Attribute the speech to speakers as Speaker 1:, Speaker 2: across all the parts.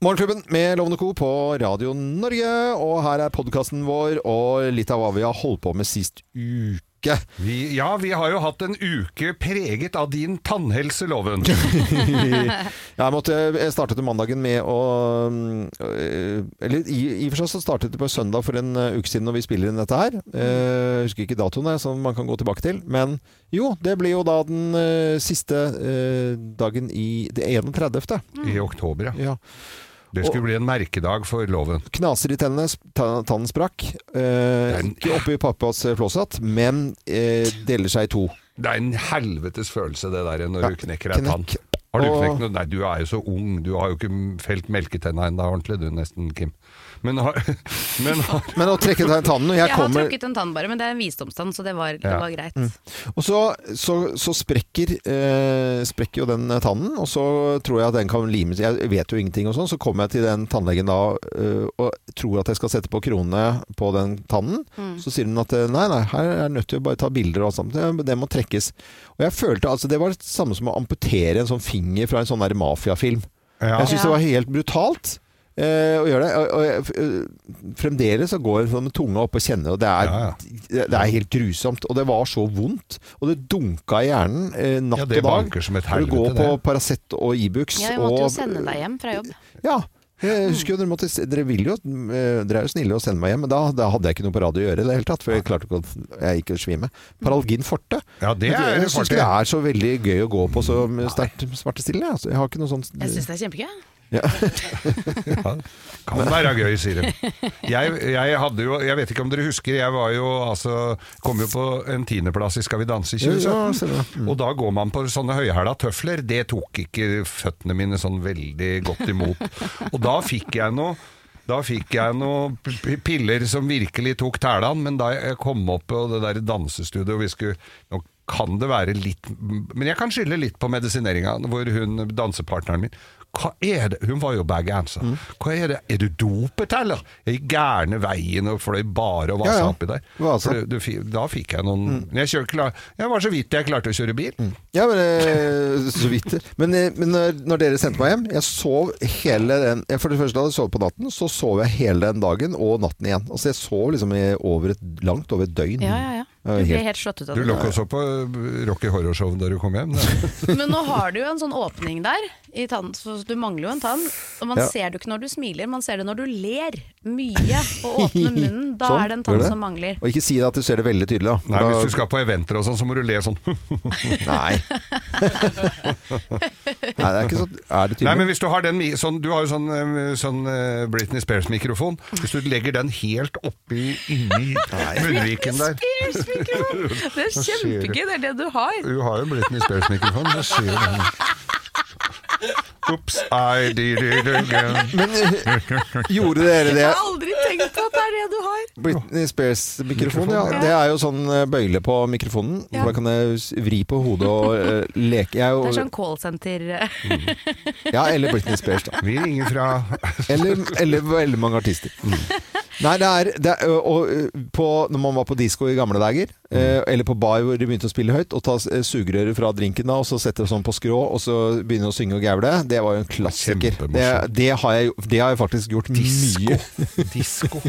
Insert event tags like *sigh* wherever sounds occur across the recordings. Speaker 1: Morgenklubben med Lovende Co. på Radio Norge. Og her er podkasten vår og litt av hva vi har holdt på med sist uke.
Speaker 2: Vi, ja, vi har jo hatt en uke preget av din tannhelse,
Speaker 1: *laughs*
Speaker 2: Loven.
Speaker 1: Jeg, måtte, jeg startet jo mandagen med å øh, Eller i, i og for seg så startet det på søndag for en øh, uke siden når vi spiller inn dette her. Eh, Jeg husker ikke datoen, jeg, som man kan gå tilbake til. Men jo, det blir jo da den øh, siste øh, dagen i det 31.
Speaker 2: I oktober, ja.
Speaker 1: Ja.
Speaker 2: Det skulle bli en merkedag for Loven.
Speaker 1: Knaser i tennene, sp- ta- tannen sprakk. Eh,
Speaker 2: Den-
Speaker 1: ikke oppi pappas flåsatt, men eh, deler seg i to.
Speaker 2: Det er en helvetes følelse, det der, når
Speaker 1: Ja,
Speaker 2: du knekker ei tann.
Speaker 1: knekk.
Speaker 2: Har du
Speaker 1: Og-
Speaker 2: knekt noe? Nei, du er jo så ung. Du har jo ikke felt melketenna ennå ordentlig, du nesten, Kim. Men har, *laughs* men har
Speaker 1: Men å trekke den tannen og jeg
Speaker 3: Jeg har
Speaker 1: kommer,
Speaker 3: trukket en tann bare, men det er en visdomstann, så det var, det
Speaker 2: Ja.
Speaker 3: var greit.
Speaker 1: Mm. Og så, så, så sprekker, eh, sprekker jo den tannen, og så tror jeg at den kan limes Jeg vet jo ingenting og sånn, så kommer jeg til den tannlegen da eh, og tror at jeg skal sette på kronene på den tannen.
Speaker 3: Mm.
Speaker 1: Så sier hun at eh, nei, nei, her er jeg nødt til å bare ta bilder og alt sammen. Det, det må trekkes. Og jeg følte altså Det var det samme som å amputere en sånn finger fra en sånn der mafiafilm.
Speaker 2: ja.
Speaker 1: Jeg syns det var helt brutalt. eh, å gjøre det, og, og jeg, f- eh, Fremdeles så går jeg sånn med tunga opp og kjenner, og det er,
Speaker 2: Ja, ja.
Speaker 1: Det, det er helt grusomt. Og det var så vondt. Og det dunka i hjernen eh, natt
Speaker 2: Ja, det
Speaker 1: og dag.
Speaker 2: banker som et
Speaker 1: Du går
Speaker 2: helvete,
Speaker 1: på
Speaker 2: det.
Speaker 1: Paracet og Ibux
Speaker 3: Ja, jeg
Speaker 1: og
Speaker 3: måtte jo sende deg hjem fra jobb.
Speaker 1: Ja. Eh, Jeg husker jo dere, måtte, dere, vil jo, eh, dere er jo snille og sender meg hjem, men da, da hadde jeg ikke noe på radio å gjøre i det hele tatt. For jeg klarte ikke å jeg gikk og svime. Paralgin forte.
Speaker 2: Ja, det er
Speaker 1: jeg syns
Speaker 2: forte.
Speaker 1: det er så veldig gøy å gå på så sterkt smertestillende. Altså, jeg har ikke noe sånt
Speaker 3: Jeg syns det er kjempegøy.
Speaker 2: Ja, Kan være gøy, sier de. Jeg, jeg hadde jo, jeg vet ikke om dere husker, jeg var jo altså Kom jo på en tiendeplass i Skal vi danse i
Speaker 1: Ja, ja,
Speaker 2: 2017.
Speaker 1: ser du.
Speaker 2: Og da går man på sånne høyhæla tøfler. Det tok ikke føttene mine sånn veldig godt imot. Og da fikk jeg noe da fikk jeg noen p- p- piller som virkelig tok tælene, men da jeg kom opp på det der dansestudioet og vi skulle Nå kan det være litt Men jeg kan skylde litt på medisineringa, hvor hun dansepartneren min hva er det? Hun var jo bergenser.
Speaker 1: Mm.
Speaker 2: Hva er det? Er du dopet, eller? Jeg gikk gærne veien og fløy bare og vasa
Speaker 1: Ja, ja.
Speaker 2: oppi der.
Speaker 1: Vasa.
Speaker 2: For du, fi- da fikk jeg noen
Speaker 1: Mm.
Speaker 2: jeg, kjør, klar, jeg var så vidt jeg klarte å kjøre bil. *laughs*
Speaker 1: Ja, men eh, så vidt. Men, eh, men når, når dere sendte meg hjem Jeg sov hele den jeg For det første hadde jeg sovet på natten, så sov jeg hele den dagen og natten igjen. Altså jeg sov liksom i over et, langt over et døgn.
Speaker 3: Ja, ja, ja.
Speaker 1: Ja,
Speaker 3: Du ble
Speaker 1: helt-
Speaker 3: helt slått ut av
Speaker 2: Du
Speaker 3: det.
Speaker 2: lå ikke og så på eh, Rocky Horror Show da du kom hjem? Det.
Speaker 3: Men nå har du jo en sånn åpning der, i tann, så du mangler jo en tann. Og man
Speaker 1: Ja.
Speaker 3: ser det jo ikke når du smiler, man ser det når du ler mye og
Speaker 1: *laughs*
Speaker 3: åpner munnen. Da
Speaker 1: Sånn,
Speaker 3: er det en
Speaker 1: gjør
Speaker 3: tann
Speaker 1: det?
Speaker 3: som mangler.
Speaker 1: Og ikke si det at du ser det veldig tydelig. Da.
Speaker 2: Nei,
Speaker 1: Da-
Speaker 2: hvis du skal på eventer og sånn, så må du le sånn.
Speaker 3: *laughs*
Speaker 1: Nei. Nei, det er ikke så Er det tydelig?
Speaker 2: Nei, men hvis du har den mi- sånn, Du har jo sånn, eh, sånn eh, Britney Spears-mikrofon. Hvis du legger den helt oppi inni munnviken der
Speaker 3: Spears-mikrofon! Det er kjempegøy, det er det du har.
Speaker 2: Du har jo en Britney Spears-mikrofon. Jeg ser den. Oops, I did it again.
Speaker 1: Men, eh, gjorde dere det?
Speaker 3: Jeg har aldri tenkt på at det er det du har.
Speaker 1: Britney Spears-mikrofon,
Speaker 2: Mikrofon,
Speaker 1: ja.
Speaker 2: ja.
Speaker 1: Det er jo sånn eh, bøyle på mikrofonen.
Speaker 3: Ja.
Speaker 1: for Da kan jeg s- vri på hodet og eh, leke. Jeg, er jo-
Speaker 3: Det er sånn callsenter
Speaker 1: *laughs* ja, eller Britney Spears, da.
Speaker 2: Vi ringer fra Mm.
Speaker 1: Eller, eller veldig mange artister. Nei, det er, det er og, ø, på, Når man var på disko i gamle dager,
Speaker 2: Mm.
Speaker 1: ø, eller på bar hvor de begynte å spille høyt, og ta s- sugerøret fra drinken da, og så sette det sånn på skrå, og så begynne å synge og gaule, det var jo en klassiker.
Speaker 2: Kjempemorsomt.
Speaker 1: Det, det, har jeg, jo- det har jeg faktisk gjort
Speaker 2: Disko.
Speaker 1: mye. *laughs*
Speaker 2: Disko.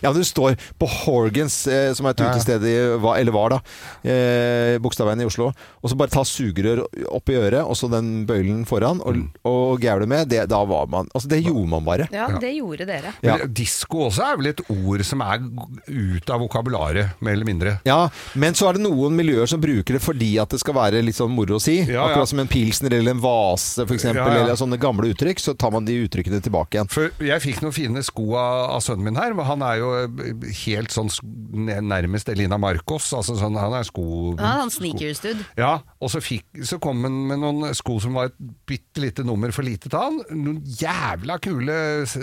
Speaker 1: Ja, men du står på Horgans, eh, som er et
Speaker 2: Ja.
Speaker 1: utested i hva- eller var da, eh, Bogstadveien i Oslo, og så bare ta sugerør opp i øret, og så den bøylen foran, og,
Speaker 2: Mm.
Speaker 1: og gaule med. Det, da var man Altså, det gjorde man bare.
Speaker 3: Ja, det gjorde dere.
Speaker 1: Ja.
Speaker 2: Men Disko også er vel et ord som er g- ut av vokabularet, mer eller mindre.
Speaker 1: Ja, men så er det noen miljøer som bruker det fordi at det skal være litt sånn moro å si.
Speaker 2: Ja, ja.
Speaker 1: Akkurat som en pilsner eller en vase f.eks.,
Speaker 2: Ja, ja.
Speaker 1: eller sånne gamle uttrykk, så tar man de uttrykkene tilbake igjen.
Speaker 2: For jeg fikk noen fine sko av, av sønnen min her. men Han er jo eh, helt sånn sk- ne- nærmest Elina Marcos. Altså sånn, han er sko...
Speaker 3: Ja, han sneakers-dude.
Speaker 2: Ja, og så, fikk, så kom han med noen sko som var et bitte lite nummer for lite til han. Noen jævla kule s-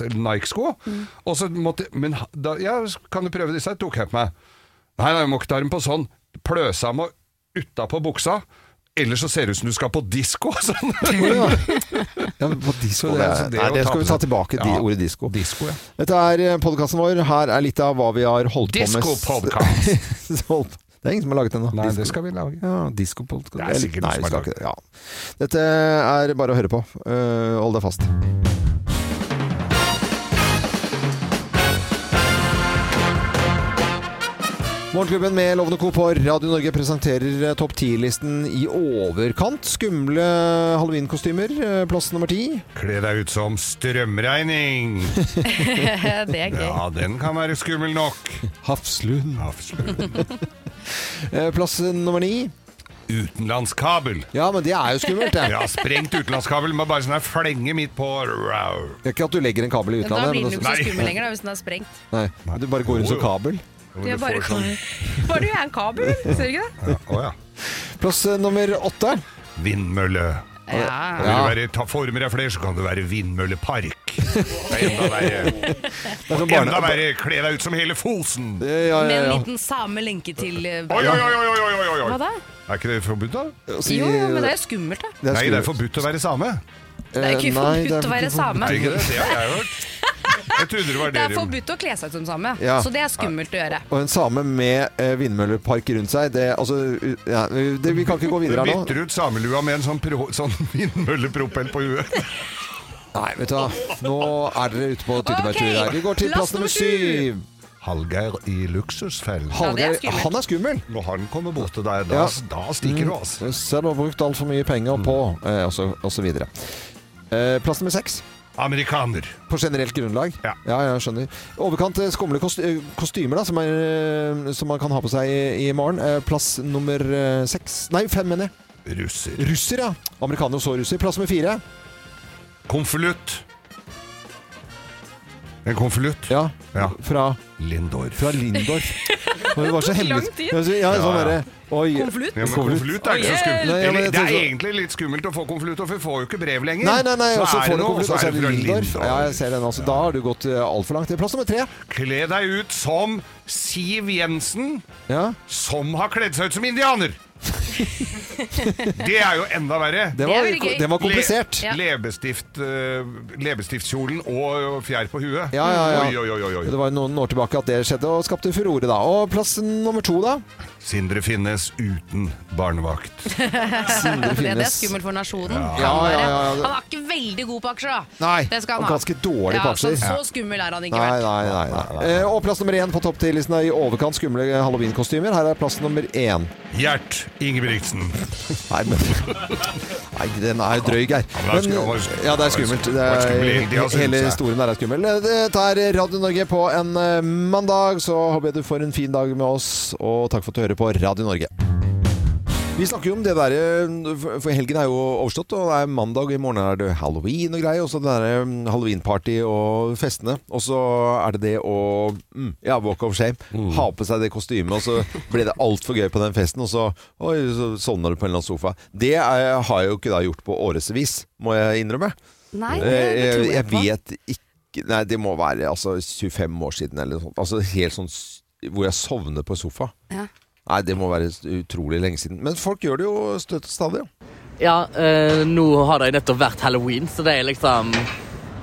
Speaker 2: s- Nike-sko.
Speaker 3: Mm.
Speaker 2: Og så måtte Men ha- da, ja, kan du prøve disse? her? Tok jeg på meg. Nei, nei, jeg må ikke ta dem på sånn. Pløsa må utapå buksa. Ellers så ser det ut som du skal på disko. *laughs* Sånn.
Speaker 1: Ja, på disko,
Speaker 2: Så
Speaker 1: det,
Speaker 2: det er- så altså, det
Speaker 1: Nei,
Speaker 2: å
Speaker 1: det
Speaker 2: ta
Speaker 1: skal vi
Speaker 2: på
Speaker 1: ta
Speaker 2: seg-
Speaker 1: tilbake, de,
Speaker 2: Ja.
Speaker 1: ordet disko.
Speaker 2: Disko, ja.
Speaker 1: Dette er podkasten vår. Her er litt av hva vi har holdt på med.
Speaker 2: Disko-podcast.
Speaker 1: *laughs* Holdt- det er ingen som har laget den nå.
Speaker 2: Nei, det skal vi lage.
Speaker 1: Ja, diskopodkast.
Speaker 2: Det er sikkert
Speaker 1: Nei,
Speaker 2: noen
Speaker 1: vi
Speaker 2: som
Speaker 1: skal
Speaker 2: har
Speaker 1: ikke det. Ja. Dette er bare å høre på. Eh, hold deg fast. Morgenklubben med Lovende Co. på Radio Norge presenterer eh, topp 10-listen i overkant. Skumle halloweenkostymer, eh, plass nummer ti.
Speaker 2: Kle deg ut som
Speaker 3: *laughs*
Speaker 2: strømregning.
Speaker 1: *laughs*
Speaker 3: det er gøy.
Speaker 2: Ja, den kan være skummel nok.
Speaker 1: Hafslund.
Speaker 2: Absolutt.
Speaker 1: *laughs* Eh, Plass nummer ni.
Speaker 2: Utenlandskabel.
Speaker 1: Ja, men det er jo skummelt, det.
Speaker 2: Ja, sprengt utenlandskabel med bare sånn her flenge midt på. Rau.
Speaker 1: Det er ikke at du legger en kabel i
Speaker 3: Da
Speaker 1: utlandet.
Speaker 3: blir den jo
Speaker 1: men det-
Speaker 3: ikke
Speaker 2: Nei.
Speaker 3: så skummel lenger da, hvis den er sprengt.
Speaker 1: Nei, Du bare går rundt som
Speaker 2: Jo, jo.
Speaker 1: kabel.
Speaker 2: Hvor
Speaker 3: Det
Speaker 2: du
Speaker 3: er bare
Speaker 2: får sånn-
Speaker 3: Bare du er en kabel, ser du ikke det?
Speaker 2: Ja, Å ja.
Speaker 1: *laughs* Plass eh, nummer åtte.
Speaker 2: Vindmølle.
Speaker 3: Ja.
Speaker 2: Vil
Speaker 1: Ja.
Speaker 2: du være, ta former av flere, så kan du være
Speaker 1: *laughs*
Speaker 2: vindmøllepark. Det er enda verre.
Speaker 1: Det er som barne-
Speaker 2: Enda verre, kle deg ut som hele Fosen.
Speaker 1: Eh, Ja,
Speaker 3: Med
Speaker 1: ja,
Speaker 3: en
Speaker 1: ja.
Speaker 3: liten same lenke til eh,
Speaker 2: Oi, oi, oi, oi, oi, oi,
Speaker 3: Hva
Speaker 2: oi.
Speaker 3: da?
Speaker 2: Er ikke det forbudt, da?
Speaker 1: Si-
Speaker 3: Jo, jo, men det er jo skummelt, da.
Speaker 2: Nei, det er
Speaker 1: skummelt.
Speaker 2: forbudt å være same.
Speaker 3: Det er ikke
Speaker 1: Eh, nei, det
Speaker 3: forbudt
Speaker 1: er
Speaker 3: å være
Speaker 1: ikke forbudt.
Speaker 2: Er
Speaker 3: same.
Speaker 2: det ikke det? Det har jeg hørt. Jeg trodde det var
Speaker 3: Det er
Speaker 2: dere.
Speaker 3: forbudt å kle seg ut som same,
Speaker 1: Ja.
Speaker 3: så det er skummelt å
Speaker 1: *laughs*
Speaker 3: gjøre.
Speaker 1: Og en same med eh, vindmøllepark rundt seg det, altså, u- ja, det, Vi kan ikke gå
Speaker 2: Du
Speaker 1: videre her nå.
Speaker 2: bytter ut samelua med en sånn, pro, sånn *laughs* vindmøllepropell på huet.
Speaker 1: Nei, vet du hva. Nå er dere ute på tyttebærtur
Speaker 3: Ok,
Speaker 1: her. Vi går til
Speaker 3: plass
Speaker 1: plass nummer
Speaker 3: nummer syv.
Speaker 1: syv.
Speaker 2: Hallgeir i luksusfellen.
Speaker 3: Ja, det er
Speaker 1: Hallgeir,
Speaker 3: skummelt.
Speaker 1: han er skummel.
Speaker 2: Når han kommer bort til deg, da,
Speaker 1: Ja. Mm.
Speaker 2: da stikker du, Mm. altså.
Speaker 1: Selv har brukt altfor mye penger på eh, og, så, og så videre. Eh, plass nummer seks.
Speaker 2: Amerikaner.
Speaker 1: På generelt grunnlag.
Speaker 2: Ja.
Speaker 1: ja jeg skjønner. Overkant eh, skumle kost eh, kostymer da, som, er, eh, som man kan ha på seg i, i morgen. Eh, plass nummer eh, seks Nei, fem, mener jeg.
Speaker 2: Russer.
Speaker 1: Russer, ja. Amerikaner og så russer. Plass nummer fire.
Speaker 2: Konvolutt. En konvolutt.
Speaker 1: Ja.
Speaker 2: Ja.
Speaker 1: Fra,
Speaker 2: Lindorf.
Speaker 1: fra Lindorf.
Speaker 2: *laughs*
Speaker 1: Og det var så hemmelig.
Speaker 3: Lang tid.
Speaker 1: Ja, så- Ja, sånn
Speaker 2: Ja, ja.
Speaker 1: derre Oi.
Speaker 3: Konvolutt?
Speaker 2: Ja, men konvolutt er ikke så skummelt.
Speaker 1: Nei, ja, men
Speaker 2: Eller,
Speaker 1: jeg
Speaker 2: det er
Speaker 1: tenker-
Speaker 2: egentlig litt skummelt å få konvolutt, og vi får jo ikke brev lenger.
Speaker 1: Nei, nei, nei,
Speaker 2: Så
Speaker 1: og så får
Speaker 2: er det
Speaker 1: du
Speaker 2: noe,
Speaker 1: konvolutt, og så er det
Speaker 2: fra
Speaker 1: Lindorf. Ja, jeg ser den. Altså, Da har du gått eh, altfor langt. Plass nummer tre.
Speaker 2: Kle deg ut som Siv Jensen,
Speaker 1: Ja,
Speaker 2: som har kledd seg ut som indianer. Det er jo enda verre.
Speaker 1: det
Speaker 3: er
Speaker 1: var,
Speaker 3: veldig gøy.
Speaker 1: den var komplisert.
Speaker 3: Ja.
Speaker 2: Leppestift, eh, leppestiftkjolen og fjær på huet.
Speaker 1: Ja, ja, ja.
Speaker 2: Oi, oi, oi, oi,
Speaker 1: Det
Speaker 2: oi.
Speaker 1: var jo noen år tilbake at det skjedde, og skapte furore da. Og plass nummer to, da?
Speaker 2: Sindre Finnes uten barnevakt.
Speaker 1: Sindre
Speaker 3: Det, det er
Speaker 1: Finnes.
Speaker 3: skummelt for nasjonen.
Speaker 1: Ja,
Speaker 3: Han, er,
Speaker 1: ja, ja, ja.
Speaker 3: han er ikke veldig god på aksjer, da.
Speaker 1: Nei,
Speaker 3: Det skal han
Speaker 1: og
Speaker 3: ha.
Speaker 1: ganske dårlig
Speaker 3: ja,
Speaker 1: på aksjer.
Speaker 3: Så, så skummel er han ikke
Speaker 1: Nei,
Speaker 3: vært.
Speaker 1: nei, nei. nei. Eh, Og plass nummer én på topp 10-listen er i overkant skumle halloweenkostymer. Her er plass nummer én.
Speaker 2: Gjert Ingebrigtsen.
Speaker 1: Nei, men Nei, den er drøy, Geir.
Speaker 2: Ja, men det er
Speaker 1: Men-
Speaker 2: skummelt.
Speaker 1: Ja, det er skummelt. Det
Speaker 2: Det er skummelt. Det er
Speaker 1: er,
Speaker 2: skummelt.
Speaker 1: hele historien der er skummel. Dette er Radio Norge på en eh, mandag, så håper jeg du får en fin dag med oss, og takk for at du hører på Radio Norge. Vi snakker jo om det derre For helgen er jo overstått, og det er mandag, og i morgen er det halloween og greier. Og så det derre mm, halloweenparty og festene. Og så er det det å mm, Ja, walk of shame. Ha på seg det kostymet, og så ble det altfor gøy på den festen, og så Oi, så sovna du på en eller annen sofa. Det er, har jeg jo ikke da gjort på årevis, må jeg innrømme.
Speaker 3: Nei, det, det
Speaker 1: Eh,
Speaker 3: tror
Speaker 1: Jeg
Speaker 3: jeg på.
Speaker 1: vet ikke Nei, det må være altså, 25 år siden eller noe sånt. Altså helt sånn s- hvor jeg sovner på en sofa.
Speaker 3: Ja.
Speaker 1: Nei, det må være utrolig lenge siden. Men folk gjør det jo støtt og stadig. ja.
Speaker 4: Ja, eh, nå har det nettopp vært halloween, så det er liksom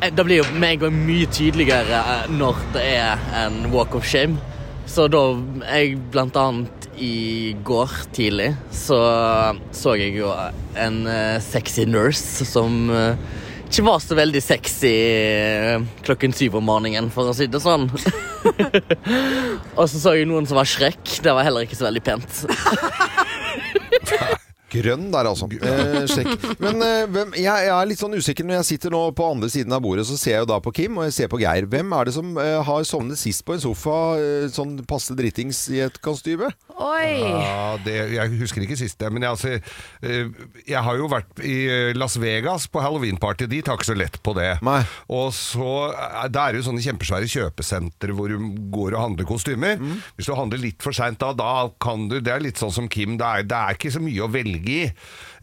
Speaker 4: eh, Det blir jo med en gang mye tydeligere eh, når det er en walk of shame. Så da jeg Blant annet i går tidlig så så jeg jo en eh, sexy nurse som eh, ikke var så veldig sexy eh, klokken syv om morgenen, for å si det sånn. *laughs* Og så så jeg noen som var Shrek. Det var heller ikke så veldig pent.
Speaker 1: Grønn der, altså. Eh, sjekk. Men eh, hvem, jeg, jeg er litt sånn usikker når jeg sitter nå på andre siden av bordet, så ser jeg jo da på Kim og jeg ser på Geir. Hvem er det som eh, har sovnet sist på en sofa eh, sånn passe dritings i et kostyme?
Speaker 3: Oi!
Speaker 2: Ja, det, jeg husker ikke sist, men jeg, altså, eh, jeg har jo vært i eh, Las Vegas på halloweenparty. De tar ikke så lett på det.
Speaker 1: Nei.
Speaker 2: Og så, eh, Da er det jo sånne kjempesvære kjøpesentre hvor du går og handler kostymer. Hvis du handler litt for seint da, da kan du Det er litt sånn som Kim, det er, det er ikke så mye å velge i.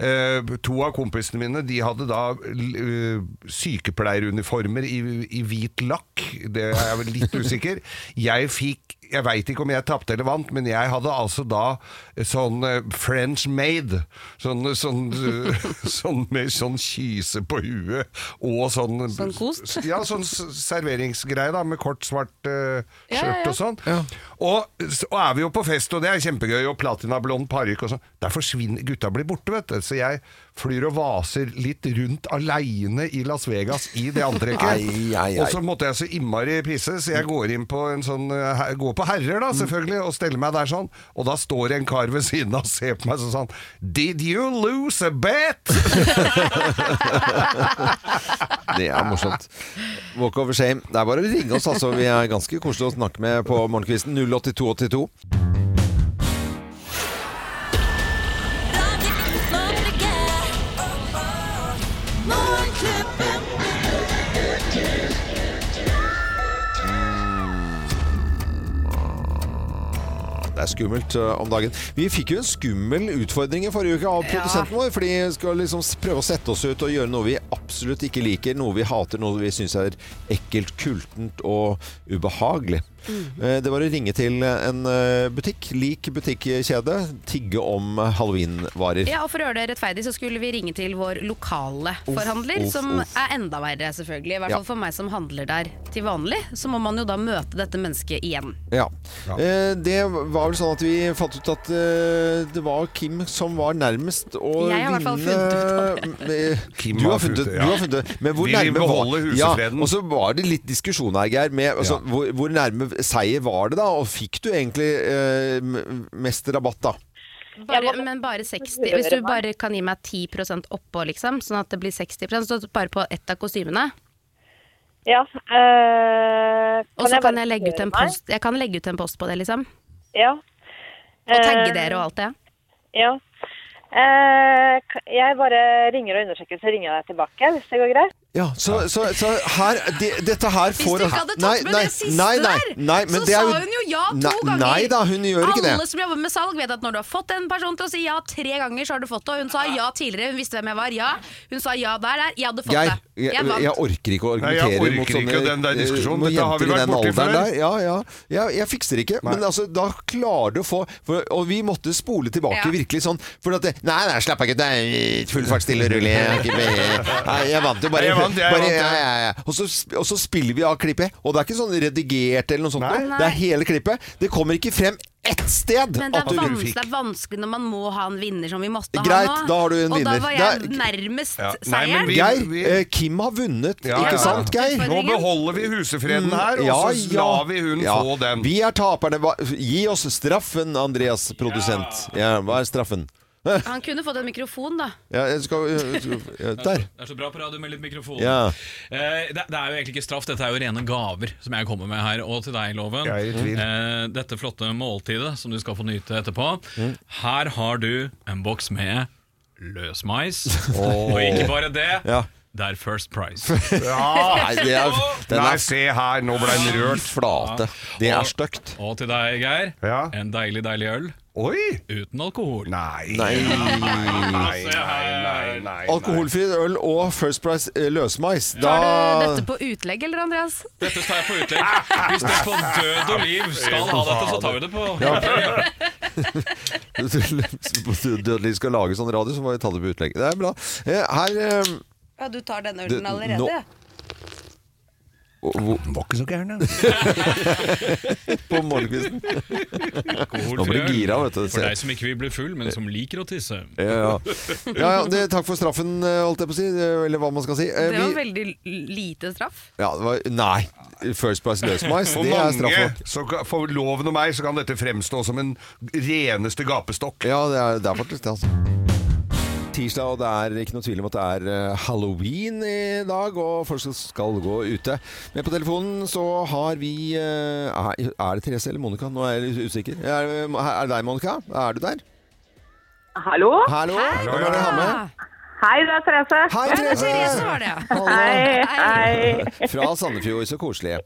Speaker 2: Eh, to av kompisene mine de hadde da eh, sykepleieruniformer i, i hvit lakk. Det er jeg vel litt usikker. Jeg fikk jeg veit ikke om jeg tapte eller vant, men jeg hadde al- altså da eh, sånn eh, French made. Sånn, eh, sånn, eh, *laughs* sånn med sånn kyse på huet og sånn
Speaker 5: Sånn kost?
Speaker 2: Ja, sånn s- serveringsgreie da, med kort, svart eh, skjørt
Speaker 5: Ja, ja, ja.
Speaker 2: og sånn. Og s- og er vi jo på fest, og det er kjempegøy, og platinablond parykk og sånn. Der forsvinner Gutta blir borte, vet du. Så jeg flyr og vaser litt rundt aleine i Las Vegas i det antrekket.
Speaker 1: Ai, ai, ai.
Speaker 2: Og så måtte jeg så innmari pisse, så jeg går inn på en sånn eh, her- Går på
Speaker 1: Mm.
Speaker 2: herrer, da, selvfølgelig, og steller meg der sånn. Og da står en kar ved siden av og ser på meg sånn sånn Did you lose a bet?
Speaker 1: *laughs* Det er morsomt. Walk over shame. Det er bare å ringe oss, altså. Vi er ganske koselige å snakke med på morgenkvisten. 08282. Det er skummelt ø, om dagen. Vi fikk jo en skummel utfordring i forrige uke av produsenten vår. Fordi vi skal liksom s- prøve å sette oss ut og gjøre noe vi absolutt ikke liker. Noe vi hater, noe vi syns er ekkelt, kultent og ubehagelig. Eh, Det var å ringe til en ø, butikk, lik butikkjede, tigge om halloweenvarer.
Speaker 5: Ja, og For å gjøre det rettferdig så skulle vi ringe til vår lokale forhandler,
Speaker 1: uff,
Speaker 5: som
Speaker 1: uff.
Speaker 5: er enda verre, selvfølgelig. I hvert
Speaker 1: Ja.
Speaker 5: fall for meg som handler der til vanlig. Så må man jo da møte dette mennesket igjen.
Speaker 1: Ja.
Speaker 2: Ja.
Speaker 1: Eh, Det var vel sånn at vi fant ut at eh, det var Kim som var nærmest å vinne
Speaker 5: Jeg har i hvert fall funnet ut
Speaker 1: *laughs* Eh,
Speaker 2: Kim
Speaker 1: du
Speaker 2: har
Speaker 1: har funnet
Speaker 2: funnet
Speaker 1: ut
Speaker 2: det,
Speaker 1: ja.
Speaker 2: ja.
Speaker 1: Du har funnet det. Men hvor
Speaker 2: Vi vil
Speaker 1: nærme
Speaker 2: beholde
Speaker 1: var-
Speaker 2: husfreden.
Speaker 1: Ja, og så var det litt diskusjon her, Geir. Med, altså,
Speaker 2: Ja.
Speaker 1: hvor, hvor nærme seier var det, da? Og fikk du egentlig eh, m- mest rabatt, da?
Speaker 5: Bare, men bare 60 Hvis du bare kan gi meg 10 oppå, liksom, sånn at det blir 60 så bare på ett av kostymene.
Speaker 6: Ja. eh,
Speaker 5: Og så
Speaker 6: bare
Speaker 5: kan jeg legge ut en
Speaker 6: gjøre meg?
Speaker 5: post Jeg kan legge ut en post på det, liksom.
Speaker 6: Ja.
Speaker 5: Og tagge
Speaker 6: Eh,
Speaker 5: dere og alt det.
Speaker 6: Ja. Eh, k- jeg bare ringer og undersøker, så ringer jeg deg tilbake hvis det går greit.
Speaker 1: Ja, så, så, så her det, Dette her
Speaker 3: Hvis
Speaker 1: får
Speaker 3: du ikke hadde tatt med det siste
Speaker 1: nei, nei,
Speaker 3: der,
Speaker 1: nei, men
Speaker 3: så
Speaker 1: det er
Speaker 3: sa hun jo ja to
Speaker 1: nei,
Speaker 3: ganger.
Speaker 1: Nei da, hun gjør ikke det.
Speaker 5: Alle som jobber med salg vet at når du har fått en person til å si ja tre ganger, så har du fått det. Og hun sa ja tidligere, hun visste hvem jeg var. Ja. Hun sa ja der, der. Jeg hadde fått
Speaker 1: Geir,
Speaker 5: det.
Speaker 1: jeg,
Speaker 5: Jeg vant.
Speaker 1: jeg orker ikke å
Speaker 2: Nei, jeg
Speaker 1: argumentere
Speaker 2: orker
Speaker 1: mot sånne
Speaker 2: ikke den der
Speaker 1: eh,
Speaker 2: diskusjonen.
Speaker 1: mot
Speaker 2: Dette har vi
Speaker 1: jenter i
Speaker 2: vært
Speaker 1: den
Speaker 2: borti
Speaker 1: alderen
Speaker 2: før.
Speaker 1: der. Ja, ja. Jeg, jeg fikser ikke. Men altså, da klarer du å få for, Og vi måtte spole tilbake
Speaker 5: Ja.
Speaker 1: virkelig sånn. For at det, Nei, nei, slapp av, gutt. Det er Full fart, stille og rolig. Jeg, er ikke med. Nei, jeg vant jo bare.
Speaker 2: Nei, jeg vant, jeg
Speaker 1: bare
Speaker 2: vant,
Speaker 1: ja,
Speaker 2: jeg.
Speaker 1: ja, ja. Og, så, sp- og så spiller vi av klippet. Og det er ikke sånn redigert eller noe sånt.
Speaker 2: Nei.
Speaker 1: noe. Det er hele klippet. Det kommer ikke frem ett sted.
Speaker 5: Men det
Speaker 1: at
Speaker 5: er,
Speaker 1: du-
Speaker 2: vans-
Speaker 5: vanskelig, det er vanskelig når man må ha en vinner som vi måtte
Speaker 1: Greit,
Speaker 5: ha nå.
Speaker 1: da har du en
Speaker 5: og
Speaker 1: vinner.
Speaker 5: da var
Speaker 1: Det
Speaker 5: jeg
Speaker 1: er-
Speaker 5: nærmest
Speaker 2: Ja, nei, men
Speaker 5: seieren.
Speaker 2: vi-
Speaker 1: Geir,
Speaker 2: vi-
Speaker 1: eh, Kim har vunnet,
Speaker 2: Ja, ja,
Speaker 1: ikke
Speaker 2: ja.
Speaker 1: sant, Geir? Mm.
Speaker 2: Nå beholder vi husefreden her, og så lar vi hun
Speaker 1: Ja,
Speaker 2: få den.
Speaker 1: Vi er taperne. Hva- Gi oss straffen, Andreas, produsent. Ja, hva er straffen?
Speaker 5: Han kunne fått en mikrofon, da.
Speaker 1: Ja, jeg skal, jeg skal, ja, der.
Speaker 7: Det er så bra på radio med litt mikrofon.
Speaker 1: Ja.
Speaker 7: Eh, det, det er jo egentlig ikke straff, dette er jo rene gaver som jeg kommer med her. Og til deg, Loven.
Speaker 2: Jeg er i tvil.
Speaker 7: Eh, dette flotte måltidet som du skal få nyte etterpå.
Speaker 1: Mm.
Speaker 7: Her har du en boks med løsmais. Og ikke bare det,
Speaker 1: Ja.
Speaker 7: det er First Price. *laughs*
Speaker 1: Nei, det er, den
Speaker 2: Nei,
Speaker 1: er
Speaker 2: se her, nå ble den
Speaker 1: rørt
Speaker 2: rørt.
Speaker 1: flate. Det er stygt.
Speaker 7: Og til deg, Geir,
Speaker 2: Ja.
Speaker 7: en deilig, deilig øl
Speaker 2: Oi!
Speaker 7: uten alkohol.
Speaker 2: Nei,
Speaker 1: Nei.
Speaker 2: nei,
Speaker 7: Se her.
Speaker 2: nei.
Speaker 1: Alkoholfri øl og First Price eh, løsmais.
Speaker 5: Har du
Speaker 1: Da
Speaker 5: dette på utlegg, eller, Andreas?
Speaker 7: Dette tar jeg på utlegg. Hvis du på død og liv skal ha dette, så tar vi det på
Speaker 1: *laughs* Dødelig skal lage sånn radio, så må vi ta det på utlegg. Det er bra. Eh, Her eh,
Speaker 5: Ja, du tar denne
Speaker 1: Det- allerede, nå- eh, ja. hvor-
Speaker 2: Den var ikke så gæren, den.
Speaker 1: *laughs* på morgenkvisten
Speaker 7: alkohol.
Speaker 1: Nå blir
Speaker 7: til
Speaker 1: du
Speaker 7: øl.
Speaker 1: gira, vet du.
Speaker 7: For deg som ikke vil bli full, men som liker å tisse.
Speaker 1: Ja, ja. ja, ja det, takk for straffen, eh, holdt jeg på å si. eh, Eller hva man skal si. Eh,
Speaker 5: Det var
Speaker 1: vi-
Speaker 5: veldig lite straff.
Speaker 1: ja, det var, nei. First Price løsmeis,
Speaker 2: For
Speaker 1: det er straff
Speaker 2: mange,
Speaker 1: nok.
Speaker 2: så, kan- for loven og meg, så kan dette fremstå som en reneste gapestokk.
Speaker 1: Ja, det er, det er faktisk det, altså. Tirsdag, og det er ikke noe tvil om at det er eh, halloween i dag, og folk skal gå ute. Men på telefonen så har vi eh, Er er det Therese eller Monica? Nå er jeg litt usikker. Er, det- er det deg, Monica? Er du der?
Speaker 6: Hallo?
Speaker 1: Hallo? Hvem er det jeg har med?
Speaker 6: Hei, det er Therese.
Speaker 1: Hei,
Speaker 5: Ja, det var Therese
Speaker 1: Therese!
Speaker 5: var det, ja.
Speaker 1: Hallo.
Speaker 6: Hei.
Speaker 1: Fra Sandefjord, så koselig.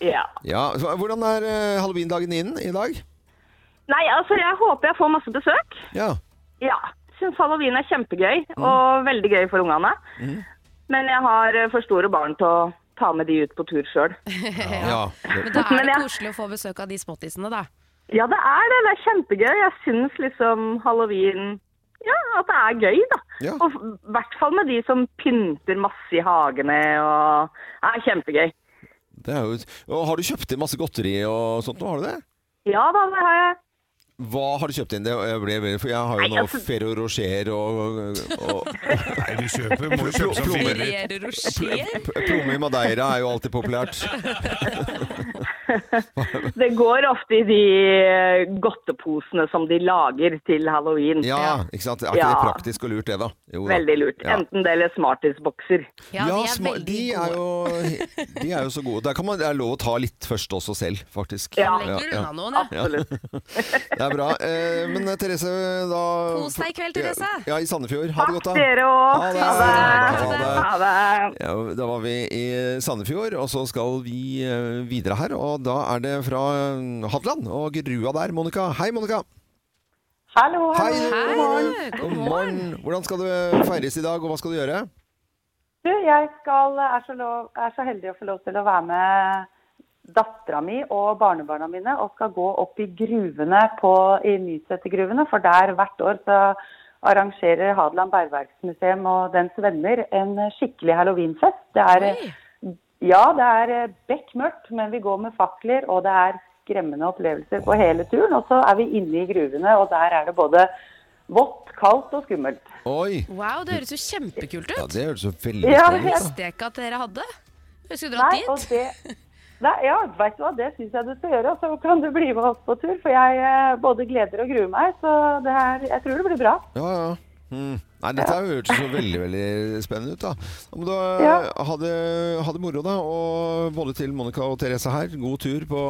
Speaker 6: Ja.
Speaker 1: Ja, så Hvordan er eh, halloweendagen din i dag?
Speaker 6: Nei, altså, jeg håper jeg får masse besøk.
Speaker 1: Ja.
Speaker 6: Ja. Syns halloween er kjempegøy,
Speaker 5: Mm.
Speaker 6: og veldig gøy for ungene. Men jeg har eh, for store barn til å ta med de ut på tur sjøl.
Speaker 1: ja.
Speaker 5: Men da er
Speaker 6: Men
Speaker 2: Ah.
Speaker 5: det
Speaker 6: jeg-
Speaker 5: koselig å få besøk av de småttisene, da.
Speaker 6: Ja, det er det. Det er kjempegøy. Jeg syns liksom halloween Ja, at det er gøy, da.
Speaker 1: Ja.
Speaker 6: Og f- i hvert fall med de som pynter masse i hagene og Det er kjempegøy.
Speaker 1: Det er jo, og har du kjøpt inn masse godteri og sånt nå? Har du det?
Speaker 6: Ja da, det har jeg.
Speaker 1: Hva har du kjøpt inn? Det jeg ble, veldig- for jeg har jo
Speaker 6: Nei,
Speaker 1: nå
Speaker 6: altså-
Speaker 1: Ferro Rocher og, og
Speaker 2: Nei, du kjøper, må jo kjøpe sånn som
Speaker 1: Plomme.
Speaker 2: fyller.
Speaker 5: Ferrero Rocher?
Speaker 1: p- Plomme i Madeira er jo alltid populært. *laughs*
Speaker 6: Det går ofte i de eh, godteposene som de lager til halloween.
Speaker 1: Ja, ikke sant? Er ikke
Speaker 6: Ja.
Speaker 1: det praktisk og lurt, det, da? Jo da.
Speaker 6: Veldig lurt.
Speaker 1: Ja.
Speaker 6: Enten det eller smartisbokser.
Speaker 1: Ja,
Speaker 3: Ja, de er
Speaker 1: sma- de,
Speaker 3: veldig gode.
Speaker 1: er jo, de er jo så gode. Der kan man, det er lov å ta litt først også selv, faktisk.
Speaker 6: Ja.
Speaker 5: Legger unna noen, ja.
Speaker 6: Absolutt.
Speaker 1: *laughs* Det er bra. Eh, men eh, Therese, da
Speaker 5: Kos deg i kveld, Therese.
Speaker 1: Ja, i Sandefjord. Ha det godt, da.
Speaker 6: Dere òg.
Speaker 1: Ha det.
Speaker 6: Ha det.
Speaker 1: Ha
Speaker 6: Ha det.
Speaker 1: Ja, da var vi i Sandefjord, og så skal vi eh, videre her. Og da er det fra eh, Hadeland og Grua der, Monica. Hei, Monica.
Speaker 6: Hallo.
Speaker 1: Hei,
Speaker 6: hallo.
Speaker 1: god morgen. God morgen. Hvordan skal det feires i dag, og hva skal du gjøre?
Speaker 6: Du, jeg skal, er, så lov, er så heldig å få lov til å være med dattera mi og barnebarna mine og skal gå opp i gruvene på, i Nysetergruvene. For der hvert år så arrangerer Hadeland Bergverksmuseum og dens venner en skikkelig halloweenfest. Det er, ja, det er bekk mørkt, men vi går med fakler, og det er skremmende opplevelser på hele turen. Og så er vi inne i gruvene, og der er det både vått, kaldt og skummelt.
Speaker 1: Oi!
Speaker 5: Wow, det høres jo kjempekult
Speaker 1: Ja,
Speaker 5: ut.
Speaker 1: det høres jo veldig
Speaker 6: Ja,
Speaker 1: spennende ut. da.
Speaker 5: Visste jeg ikke at dere hadde. Jeg skulle
Speaker 6: Nei,
Speaker 5: dratt
Speaker 6: og
Speaker 5: dit.
Speaker 6: det, nei, ja, vet du hva, det syns jeg du skal gjøre. og Så kan du bli med oss på tur. For jeg eh, både gleder og gruer meg. Så det er, jeg tror det blir bra.
Speaker 1: Ja, ja. Mm. Nei, dette her hørtes jo veldig veldig spennende ut. da. Ja, Men da
Speaker 6: Ja.
Speaker 1: ha, det, ha det moro, da. Og både til Monica og Therese her, god tur på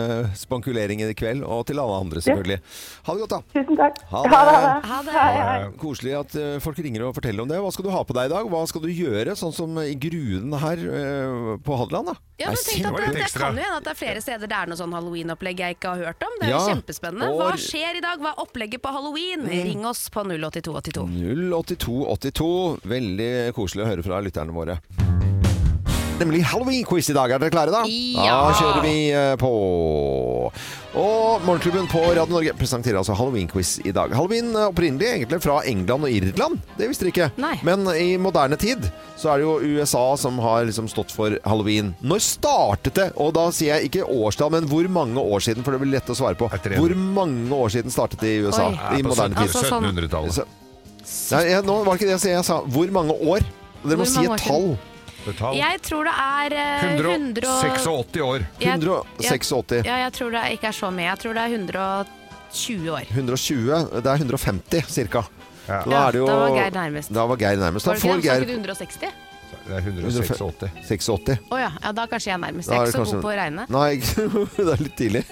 Speaker 1: halloween-spankuleringen i kveld. Og til alle andre, selvfølgelig. Ha det godt, da.
Speaker 6: Tusen takk.
Speaker 1: Ha det.
Speaker 5: Ha det.
Speaker 1: Koselig at eh, folk ringer og forteller om det. Hva skal du ha på deg i dag? Hva skal du gjøre, sånn som i gruen her eh, på Hadeland? da?
Speaker 5: Ja, men
Speaker 1: Det er
Speaker 5: tenk at
Speaker 2: var
Speaker 5: det,
Speaker 2: litt
Speaker 5: det
Speaker 2: ekstra.
Speaker 5: kan jo hende at det er flere steder det er noe sånn Halloween-opplegg jeg ikke har hørt om. Det er jo
Speaker 1: Ja, Mm.
Speaker 5: kjempespennende.
Speaker 1: og-
Speaker 5: Hva skjer i dag? Hva er opplegget på halloween? Ring oss på 08282.
Speaker 1: 08282. Veldig koselig å høre fra lytterne våre. Nemlig halloween-quiz i dag. Er dere klare, da?
Speaker 5: Ja.
Speaker 1: Da kjører vi eh, på. Og Morgenklubben på Radio Norge presenterer altså halloween-quiz i dag. Halloween eh, opprinnelig egentlig fra England og Irland. Det visste dere ikke.
Speaker 5: Nei.
Speaker 1: Men i moderne tid så er det jo USA som har liksom stått for halloween. Når startet det? Og da sier jeg ikke årstall, men hvor mange år siden? For det blir lett å svare på.
Speaker 2: Etter en-
Speaker 1: Hvor mange år siden startet det i USA?
Speaker 5: Oi.
Speaker 2: Ja,
Speaker 1: I
Speaker 2: på
Speaker 1: moderne tid.
Speaker 5: Altså, sånn-
Speaker 2: 1700-tallet.
Speaker 1: Så- Nei, jeg, nå var det ikke det jeg sa. Jeg sa hvor mange år. Dere
Speaker 5: Hvor
Speaker 1: må si
Speaker 5: mange år
Speaker 1: et tall.
Speaker 2: Betalt.
Speaker 5: Jeg tror det er eh, 100 og...
Speaker 2: 186 år.
Speaker 5: Jeg-
Speaker 1: 186.
Speaker 5: Ja, jeg tror det ikke er så mye. Jeg tror det er 120 år.
Speaker 1: 120. Det er 150 ca.
Speaker 2: Ja.
Speaker 1: Da er det jo
Speaker 5: da var Geir nærmest.
Speaker 1: Da var Geir nærmest. Da
Speaker 5: Var det
Speaker 1: får
Speaker 5: ikke det? Sa
Speaker 1: Geir
Speaker 5: ikke du 160?
Speaker 2: Det er 186.
Speaker 1: 86.
Speaker 5: Å ja. ja, da kanskje jeg er nærmest.
Speaker 1: Da
Speaker 5: Jeg er ikke
Speaker 1: er det
Speaker 5: så
Speaker 1: kanskje-
Speaker 5: god på å regne.
Speaker 1: Nei, *laughs* det er litt tidlig.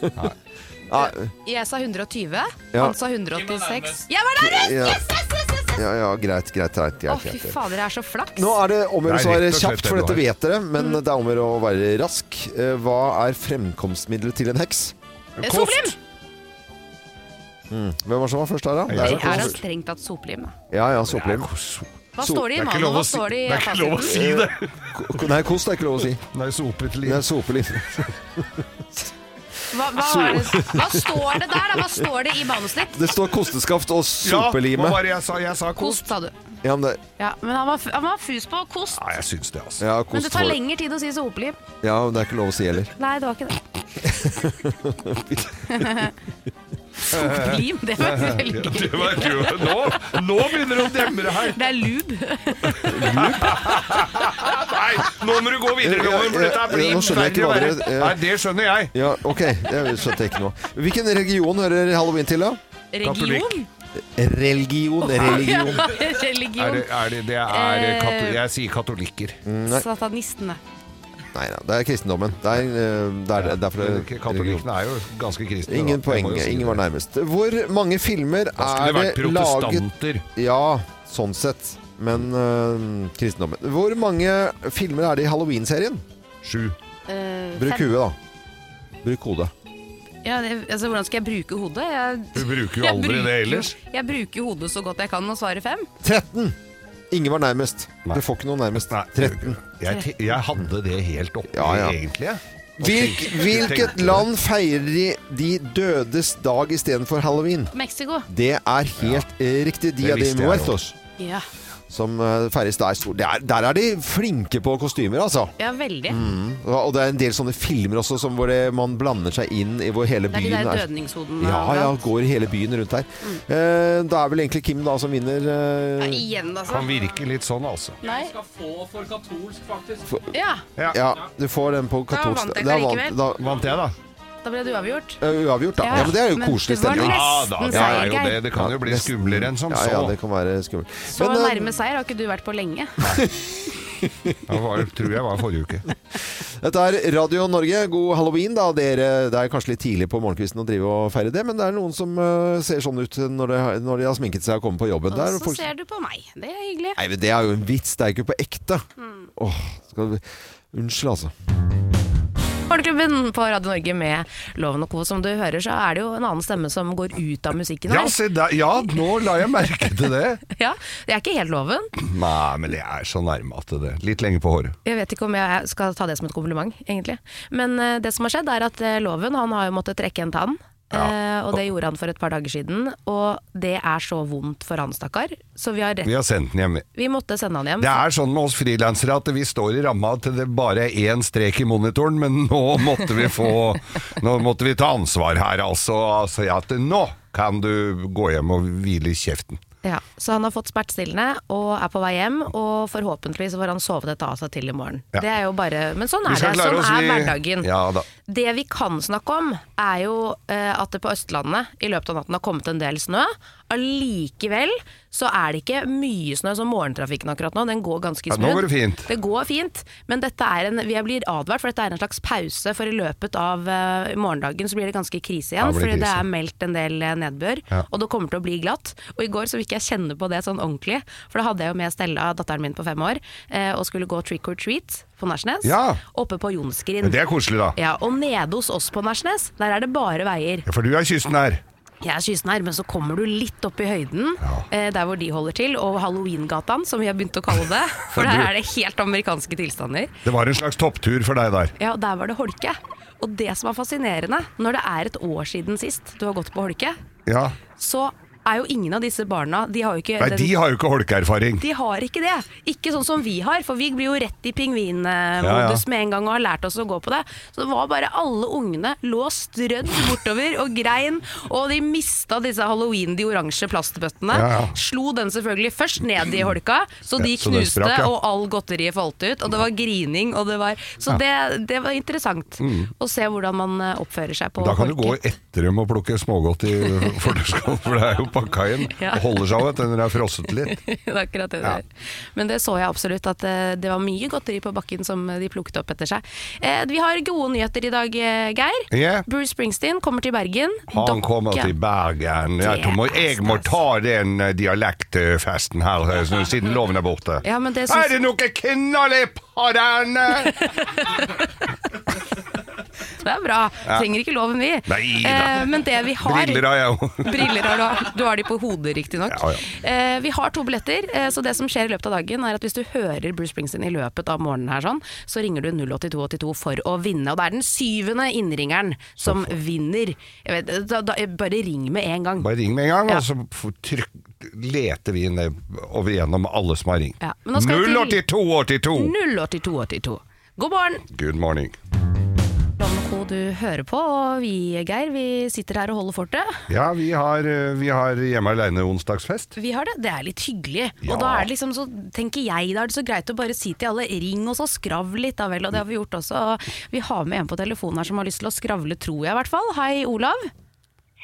Speaker 1: Nei,
Speaker 5: Jeg sa 120,
Speaker 1: Ja.
Speaker 5: han sa 186. Jeg var
Speaker 1: Ja.
Speaker 5: nærmest! Yes, yes, yes! yes, yes!
Speaker 1: ja, ja, greit, greit, greit.
Speaker 5: Å,
Speaker 1: greit,
Speaker 5: fy
Speaker 1: greit.
Speaker 5: fader, jeg er så flaks.
Speaker 1: Nå er det om å gjøre å
Speaker 2: Det er
Speaker 1: svare
Speaker 2: rett og slett
Speaker 1: kjapt, for
Speaker 2: det
Speaker 1: dette
Speaker 2: du
Speaker 1: vet dere.
Speaker 5: Mm.
Speaker 1: Men det er om å gjøre å være rask. Eh, Hva er fremkomstmiddelet til en heks? Mm.
Speaker 5: Eh, Solblim!
Speaker 1: Hvem var det som var først her, da?
Speaker 5: Det
Speaker 1: Det
Speaker 5: er da
Speaker 1: er,
Speaker 5: strengt tatt soplim. da.
Speaker 1: ja, ja, sopelim.
Speaker 5: Hva
Speaker 1: Sol-
Speaker 5: står det i
Speaker 2: Det er ikke
Speaker 5: mannen,
Speaker 2: lov
Speaker 5: og
Speaker 2: å
Speaker 5: hva
Speaker 2: si,
Speaker 5: står det i
Speaker 2: det er ikke lov å si det!
Speaker 1: Ko- Nei, kost er ikke lov å si.
Speaker 2: Det er sopet
Speaker 1: Det
Speaker 2: liv.
Speaker 1: er sopelim.
Speaker 5: Hva, hva, er det? hva står det der, da? Hva står det i manuset ditt?
Speaker 1: *laughs* Det står kosteskaft og
Speaker 2: Ja,
Speaker 1: sopelime.
Speaker 2: hva var det jeg sa? Jeg sa *laughs*
Speaker 5: Kost,
Speaker 2: kost.
Speaker 5: sa du.
Speaker 1: Ja, men det,
Speaker 5: Ja, men han var, f- han var fus på kost.
Speaker 2: Ja, jeg syns det, altså.
Speaker 1: ja,
Speaker 5: Men
Speaker 1: kost
Speaker 5: det tar
Speaker 1: var-
Speaker 5: lengre tid å si soplim.
Speaker 1: Ja, men det er ikke lov å si
Speaker 2: *laughs*
Speaker 1: heller.
Speaker 5: Nei, det var
Speaker 1: *laughs*
Speaker 5: ikke det. Soplim, det var
Speaker 2: *laughs*
Speaker 5: veldig
Speaker 2: Ja,
Speaker 5: gøy.
Speaker 2: det var gøy. Nå, nå begynner det å demre her!
Speaker 5: Det er lube.
Speaker 2: Nei, nå må du gå videre, Loven, for dette blir
Speaker 1: Nå skjønner jeg ikke hva
Speaker 2: verre.
Speaker 1: dere- ja.
Speaker 2: Nei, det skjønner jeg.
Speaker 1: Ja, ok, det skjønte jeg ikke nå. Hvilken religion hører halloween til, da?
Speaker 5: Region?
Speaker 2: Katolikk.
Speaker 1: Religion, religion.
Speaker 2: Er det,
Speaker 5: *laughs* Religion.
Speaker 2: er det, det
Speaker 1: Eh.
Speaker 2: er
Speaker 5: Eh,
Speaker 2: kato- Jeg sier katolikker.
Speaker 1: Mm,
Speaker 5: Satanistene.
Speaker 1: Nei da, det er kristendommen. Det er, eh, det er derfor
Speaker 2: Men
Speaker 1: det religion.
Speaker 2: Katolikkene er jo ganske kristne.
Speaker 1: Ingen poeng. Ingen var nærmest. Hvor mange filmer
Speaker 2: Da skulle
Speaker 1: er
Speaker 2: det vært
Speaker 1: det laget
Speaker 2: protestanter.
Speaker 1: Ja, sånn sett. Men eh, kristendommen Hvor mange filmer er det i halloween-serien?
Speaker 2: Sju.
Speaker 5: Eh,
Speaker 1: Bruk
Speaker 5: fem.
Speaker 1: huet, da. Bruk hodet.
Speaker 5: Ja, det, altså, hvordan skal jeg bruke hodet? Jeg
Speaker 2: Du bruker jo
Speaker 5: Jeg
Speaker 2: aldri det
Speaker 5: bruker-
Speaker 2: ellers.
Speaker 5: Jeg bruker hodet så godt jeg kan og svarer fem.
Speaker 1: 13! Ingen var nærmest.
Speaker 2: Nei.
Speaker 1: Dere får ikke noe nærmest.
Speaker 2: Nei,
Speaker 1: 13.
Speaker 2: Jeg, jeg hadde det helt oppe,
Speaker 1: Ja, ja.
Speaker 2: egentlig.
Speaker 1: Hvilk, hvilket land feirer de, de dødes dag istedenfor halloween?
Speaker 5: Mexico.
Speaker 1: Det er helt eh, riktig. Dia de
Speaker 2: visste jeg
Speaker 1: Muertos.
Speaker 5: Ja,
Speaker 1: Som eh, feires der. stor- Der, der er de flinke på kostymer, altså. Mm.
Speaker 5: ja veldig.
Speaker 1: Og og det er en del sånne filmer også som hvor det, man blander seg inn i hvor hele
Speaker 5: Det er de
Speaker 1: byen
Speaker 5: der
Speaker 1: er.
Speaker 5: dødningshodene.
Speaker 1: Ja,
Speaker 5: og
Speaker 1: ja,
Speaker 5: alt.
Speaker 1: går hele byen rundt her. Eh, da er vel egentlig Kim da som vinner.
Speaker 5: Ja,
Speaker 1: Eh,
Speaker 5: Igjen, altså.
Speaker 2: Kan virke litt sånn, altså.
Speaker 5: Nei.
Speaker 7: skal få for katolsk, faktisk.
Speaker 5: Ja,
Speaker 1: ja, du får den på katolsk.
Speaker 5: vant jeg
Speaker 1: Da
Speaker 5: likevel.
Speaker 1: vant- da,
Speaker 2: Vant jeg, da?
Speaker 5: da ble det uavgjort.
Speaker 1: eh, uavgjort, da. Ja, men det er jo koselig
Speaker 5: det var
Speaker 1: stemning.
Speaker 2: Ja da,
Speaker 5: nesten
Speaker 2: det er jo
Speaker 5: seier,
Speaker 2: det. Det kan jo bli
Speaker 1: nesten.
Speaker 2: skumlere enn som
Speaker 1: ja, Ja,
Speaker 2: så.
Speaker 1: det kan være skummelt.
Speaker 5: Så
Speaker 1: Men, eh,
Speaker 5: nærme seier har ikke du vært på
Speaker 1: *laughs*
Speaker 5: lenge.
Speaker 2: Det var, tror jeg var forrige uke.
Speaker 1: Dette er Radio Norge. God halloween, da. Dere, det er kanskje litt tidlig på morgenkvisten å drive og feire det, men det er noen som eh, ser sånn ut når de, har- når de har sminket seg og kommet på jobben. Der,
Speaker 5: Og
Speaker 1: og
Speaker 5: så
Speaker 1: folk,
Speaker 5: ser du på meg. Det er hyggelig.
Speaker 1: nei, men det er jo en vits. Det er ikke på ekte.
Speaker 5: Mm.
Speaker 1: Åh, skal vi... Unnskyld, altså.
Speaker 5: Morgenklubben på Radio Norge med Loven og Co. Som du hører, så er det jo en annen stemme som går ut av musikken
Speaker 2: Ja,
Speaker 5: her.
Speaker 2: se der. Ja, nå la jeg merke til det.
Speaker 5: Ja, det er ikke helt loven.
Speaker 2: Nei, men jeg er så nærme at det Litt lenge på håret.
Speaker 5: Jeg vet ikke om jeg skal ta det som et kompliment, egentlig. Men eh, det som har skjedd, er at eh, loven han har jo måttet trekke en tann. eh, og det gjorde han for et par dager siden. Og det er så vondt for han, stakkar. Så vi, har
Speaker 2: Vi
Speaker 5: rett,
Speaker 2: har sendt den hjem.
Speaker 5: vi måtte sende han hjem.
Speaker 2: Det er sånn med oss frilansere at vi står i ramma til det bare er én strek i monitoren, men nå måtte vi få Nå måtte vi ta ansvar her, altså. altså ja, at nå kan du gå hjem og hvile i kjeften.
Speaker 5: Ja, så han har fått smertestillende og er på vei hjem. Og forhåpentligvis får han sove dette av seg til i morgen.
Speaker 2: Ja.
Speaker 5: Det er jo bare, Men sånn er
Speaker 2: Vi
Speaker 5: det.
Speaker 2: skal klare
Speaker 5: Sånn
Speaker 2: oss
Speaker 5: er
Speaker 2: i-
Speaker 5: hverdagen.
Speaker 2: Ja
Speaker 8: *laughs*
Speaker 2: da.
Speaker 5: Det vi kan snakke om, er jo eh, at det på Østlandet i løpet av natten har kommet en del snø. Allikevel så er det ikke mye snø som morgentrafikken akkurat nå. Den går ganske
Speaker 2: Ja,
Speaker 5: smooth.
Speaker 2: nå går det fint.
Speaker 5: Det går fint, men dette er en, vi blir advart, for dette er en slags pause. For i løpet av eh, morgendagen så blir det ganske krise
Speaker 2: Ja,
Speaker 5: igjen,
Speaker 2: det blir
Speaker 5: fordi det
Speaker 2: krise.
Speaker 5: er meldt en del eh, nedbør. Og det kommer til å bli glatt. Og i går så fikk jeg kjenne på det sånn ordentlig, for da hadde jeg jo med Stella, datteren min på fem år, eh, og skulle gå trick or treat på Nesjnes.
Speaker 2: Ja.
Speaker 5: Oppe på Jonsgrind.
Speaker 2: Men det er koselig, da.
Speaker 5: Ja, og nede hos oss på Nærsnes, der er det bare veier.
Speaker 2: Ja, For du er kysten her.
Speaker 5: Jeg er kystnær, men så kommer du litt opp i høyden, eh, der hvor de holder til, og Halloweengatan, som vi har begynt å kalle
Speaker 2: *laughs*
Speaker 5: det. For der er det helt amerikanske tilstander.
Speaker 2: Det var en slags topptur for deg der.
Speaker 5: Ja, og der var det holke. Og det som er fascinerende, når det er et år siden sist du har gått på holke,
Speaker 2: Ja.
Speaker 5: så er jo ingen av disse barna De har jo ikke
Speaker 2: Nei,
Speaker 5: den-
Speaker 2: de har jo ikke holkeerfaring.
Speaker 5: De har ikke det. Ikke sånn som vi har, for vi blir jo rett i pingvinmodus
Speaker 2: Ja, ja.
Speaker 5: med en gang og har lært oss å gå på det. Så det var bare alle ungene lå strødd bortover og grein, og de mista disse halloween, de oransje plastbøttene.
Speaker 2: Ja, ja.
Speaker 5: Slo den selvfølgelig først ned i holka, så de
Speaker 2: Ja, så den
Speaker 5: knuste,
Speaker 2: sprakk, ja.
Speaker 5: og all godteriet falt ut. Og det var grining, og det var Så det, det var interessant å se hvordan man eh, oppfører seg på
Speaker 2: Mm. Da kan du gå
Speaker 5: holke.
Speaker 2: etter dem og plukke smågodt i *laughs* fordørskål, for det er jo pakka inn.
Speaker 5: *laughs* Ja.
Speaker 2: Og holder seg jo etter når det er frosset litt.
Speaker 5: *laughs* det er akkurat det det
Speaker 2: Ja.
Speaker 5: er. Men det så jeg absolutt, at eh, det var mye godteri på bakken som eh, de plukket opp etter seg. Eh, vi har gode nyheter i dag, eh, Geir.
Speaker 2: Ja.
Speaker 5: Bruce Springsteen kommer til Bergen.
Speaker 2: Han
Speaker 5: Dere-
Speaker 2: kommer til Bergen. Jeg,
Speaker 5: Det
Speaker 2: må,
Speaker 5: er
Speaker 2: jeg må
Speaker 5: stas.
Speaker 2: ta den eh, dialektfesten her, eh, så- siden loven er borte.
Speaker 5: Ja, men det
Speaker 2: Er
Speaker 5: syns
Speaker 2: det noe knall på den?
Speaker 5: *laughs* det er bra. Trenger ikke loven, vi.
Speaker 2: Nei da.
Speaker 5: Eh, men det vi har
Speaker 2: Briller har jeg jo.
Speaker 5: *laughs* Briller har du, du har de på hodet riktignok.
Speaker 2: Ja,
Speaker 5: eh, vi har to billetter, eh, så det som skjer i løpet av dagen er at hvis du hører Bruce Springsteen i løpet av morgenen her sånn, så ringer du 08282 for å vinne. Og det er den syvende innringeren som vinner. Jeg vet, eh, da, da, bare ring med en gang.
Speaker 2: Bare ring med en gang,
Speaker 5: Ja.
Speaker 2: og så f- trykk, leter vi ned over gjennom alle som har ringt.
Speaker 5: Ja, men nå skal vi til-
Speaker 2: 08282!
Speaker 5: 08282. God morgen!
Speaker 2: Good morning.
Speaker 5: Loven og Co. du hører på, og vi, Geir, vi sitter her og holder fortet.
Speaker 2: Ja, vi har, eh, vi har hjemme aleine onsdagsfest.
Speaker 5: Vi har det. Det er litt hyggelig.
Speaker 2: Ja.
Speaker 5: Og da er det liksom så, tenker jeg, da er det så greit å bare si til alle ring og så skravl litt, da vel. Og det har vi gjort også. Og vi har med en på telefonen her som har lyst til å skravle, tror jeg i hvert fall. Hei, Olav.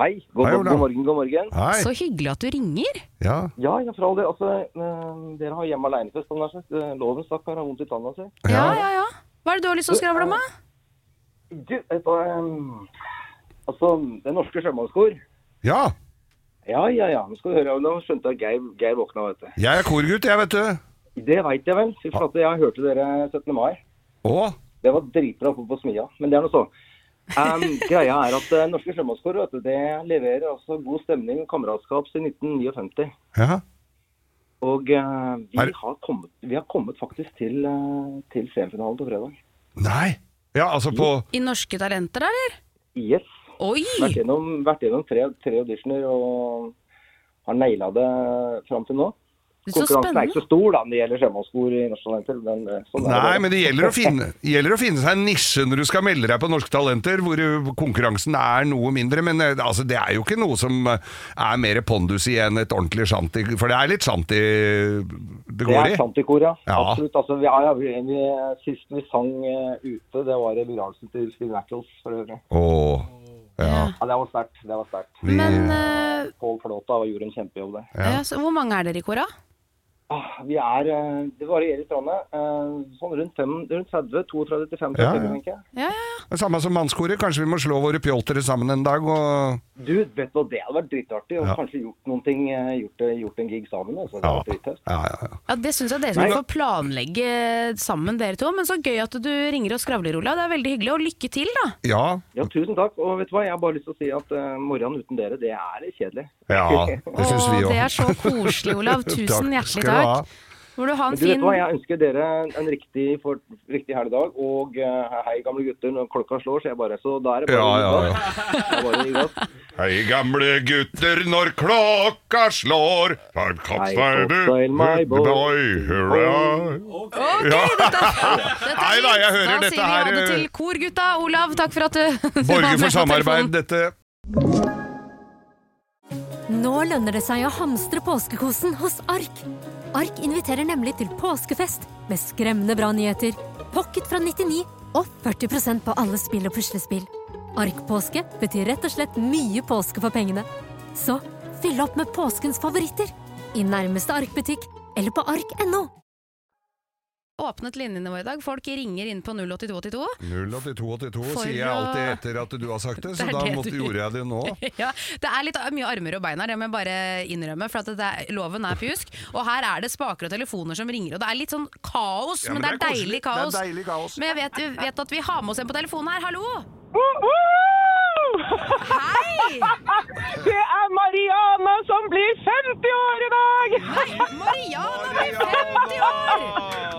Speaker 9: Hei, god,
Speaker 2: Hei,
Speaker 9: god,
Speaker 2: Olav.
Speaker 9: morgen, god morgen.
Speaker 2: Hei.
Speaker 5: Så hyggelig at du ringer.
Speaker 2: Ja.
Speaker 9: Ja, ja, for all del. Altså, eh, dere har hjemme aleinefest. på Nesjø. Eh, Loven stakkar har vondt i tanna si.
Speaker 5: Ja, ja, ja. Hva er det du har lyst til å skravle om, da?
Speaker 9: Du, vet du um, Altså, Det norske sjømannskor.
Speaker 2: ja.
Speaker 9: Ja, ja, ja. Nå skal du høre, Olav. Skjønte jeg at Geir, Geir våkna, vet du.
Speaker 2: Jeg er korgutt, jeg, vet du.
Speaker 9: Det veit jeg vel. Fy flate, jeg hørte dere 17. mai.
Speaker 2: Og
Speaker 9: Det var dritbra på, på smia, men det er nå så.
Speaker 2: *laughs*
Speaker 9: Em, greia er at eh, norske sjømannskor vet du, det leverer altså god stemning og kameratskap siden 1959.
Speaker 2: ja.
Speaker 9: Og eh, vi,
Speaker 2: Er-
Speaker 9: har kommet, vi har kommet faktisk til, eh, til semifinalen på fredag.
Speaker 2: Nei. Ja, altså på
Speaker 5: I Norske Talenter, eller?
Speaker 9: Yes.
Speaker 5: Oi!
Speaker 9: Vært gjennom, vært gjennom tre, tre auditioner og har naila det fram til nå.
Speaker 5: Så
Speaker 9: Konkurransen er
Speaker 5: spennende.
Speaker 9: ikke så stor da, når det gjelder sjømannsskor i Norsk Talenter. Men, eh, sånn er
Speaker 2: Nei,
Speaker 9: det.
Speaker 2: men det gjelder å finne,
Speaker 9: *laughs*
Speaker 2: gjelder å finne seg en nisje når du skal melde deg på Norske Talenter, hvor eh, konkurransen er noe mindre. Men eh, altså, det er jo ikke noe som eh, er mer pondus i enn et ordentlig shanty, for det er litt shanty det
Speaker 9: Det
Speaker 2: går
Speaker 9: er
Speaker 2: i.
Speaker 9: shantikor, ja.
Speaker 2: Ja.
Speaker 9: Absolutt. Altså, vi, ja, ja, vi, vi, sist vi sang eh, ute, det var i begravelsen til Steve Nackles for øvrig.
Speaker 2: Åh, ja.
Speaker 9: Ja, det var sterkt. Det var sterkt.
Speaker 2: Vi,
Speaker 5: Men eh,
Speaker 9: Pål Flåta gjorde en kjempejobb der.
Speaker 2: Ja.
Speaker 5: ja, så hvor mange er dere i kora?
Speaker 9: Ah, Vi er, eh, det varierer i landet. eh, Sånn rundt, fem, rundt 30, 32 til 35,
Speaker 2: Ja, ja.
Speaker 9: tenker jeg.
Speaker 5: Ja, ja.
Speaker 2: samme som mannskoret, kanskje vi må slå våre pjoltere sammen en dag og
Speaker 9: Du, vet du hva, det hadde vært dritartig. Og
Speaker 2: Ja.
Speaker 9: kanskje gjort noen ting, eh, gjort, eh, gjort en gig sammen. Altså. Det
Speaker 2: Ja.
Speaker 9: hadde vært drittøft.
Speaker 2: ja, ja, ja.
Speaker 5: ja det syns jeg dere skal få planlegge sammen, dere to. Men så gøy at du ringer og skravler, Ola. Det er veldig hyggelig. Og lykke til, da.
Speaker 2: ja.
Speaker 9: Ja, tusen takk. Og vet du hva, jeg har bare lyst til å si at uh, morgenen uten dere, det er litt kjedelig.
Speaker 2: Ja,
Speaker 9: *laughs*
Speaker 2: det syns
Speaker 5: Åh,
Speaker 2: vi
Speaker 5: Det er
Speaker 2: òg.
Speaker 5: så koselig,
Speaker 2: *laughs*
Speaker 5: Olav. Tusen hjertelig
Speaker 2: skal du ha.
Speaker 5: takk. Må du ha en
Speaker 9: Men du vet
Speaker 5: fin
Speaker 9: hva, jeg ønsker dere en riktig, for, riktig helgedag. Og eh, hei, gamle gutter, når klokka slår, så jeg bare Så da er det bare
Speaker 2: Ja, ja, ja.
Speaker 9: Det er bare å gi gass.
Speaker 2: Hei, gamle gutter, når klokka slår Five cups,
Speaker 9: I
Speaker 2: baby,
Speaker 9: cocktail my boy.
Speaker 2: boy, hurra.
Speaker 5: Ok,
Speaker 2: Ja.
Speaker 5: dette,
Speaker 2: *laughs*
Speaker 5: dette
Speaker 2: Nei da, jeg hører
Speaker 5: Da
Speaker 2: dette
Speaker 5: sier vi ha
Speaker 2: her,
Speaker 5: det
Speaker 2: eh,
Speaker 5: til korgutta. Olav, takk for at du du var
Speaker 2: Borge
Speaker 5: med
Speaker 2: for
Speaker 5: på
Speaker 2: samarbeid,
Speaker 5: telefonen.
Speaker 2: dette
Speaker 8: Nå lønner det seg å hamstre påskekosen hos Ark. Ark inviterer nemlig til påskefest med skremmende bra nyheter, pocket fra 99 og 40 på alle spill og puslespill. Ark-påske betyr rett og slett mye påske for pengene. Så fyll opp med påskens favoritter i nærmeste Ark-butikk eller på ark.no.
Speaker 5: Åpnet linjene våre i dag. Folk ringer inn på 08282.
Speaker 2: 08282
Speaker 5: For
Speaker 2: sier jeg
Speaker 5: å-
Speaker 2: alltid etter at du har sagt det, så
Speaker 5: Det er
Speaker 2: da
Speaker 5: det
Speaker 2: måtte,
Speaker 5: du-
Speaker 2: gjorde jeg det nå.
Speaker 5: *laughs* Ja, det er litt mye armer og bein her, det må jeg bare innrømme. For at det er, loven er pjusk. Og her er det spaker og telefoner som ringer, og det er litt sånn kaos.
Speaker 2: Ja,
Speaker 5: men, det er, deilig
Speaker 2: koselig.
Speaker 5: kaos.
Speaker 2: Det er deilig kaos.
Speaker 5: Men jeg vet, jeg vet at vi har med oss en på telefonen her. Hallo! Hei!
Speaker 10: Det er Mariana som blir 50 år i dag!
Speaker 5: Mariana blir 50 år!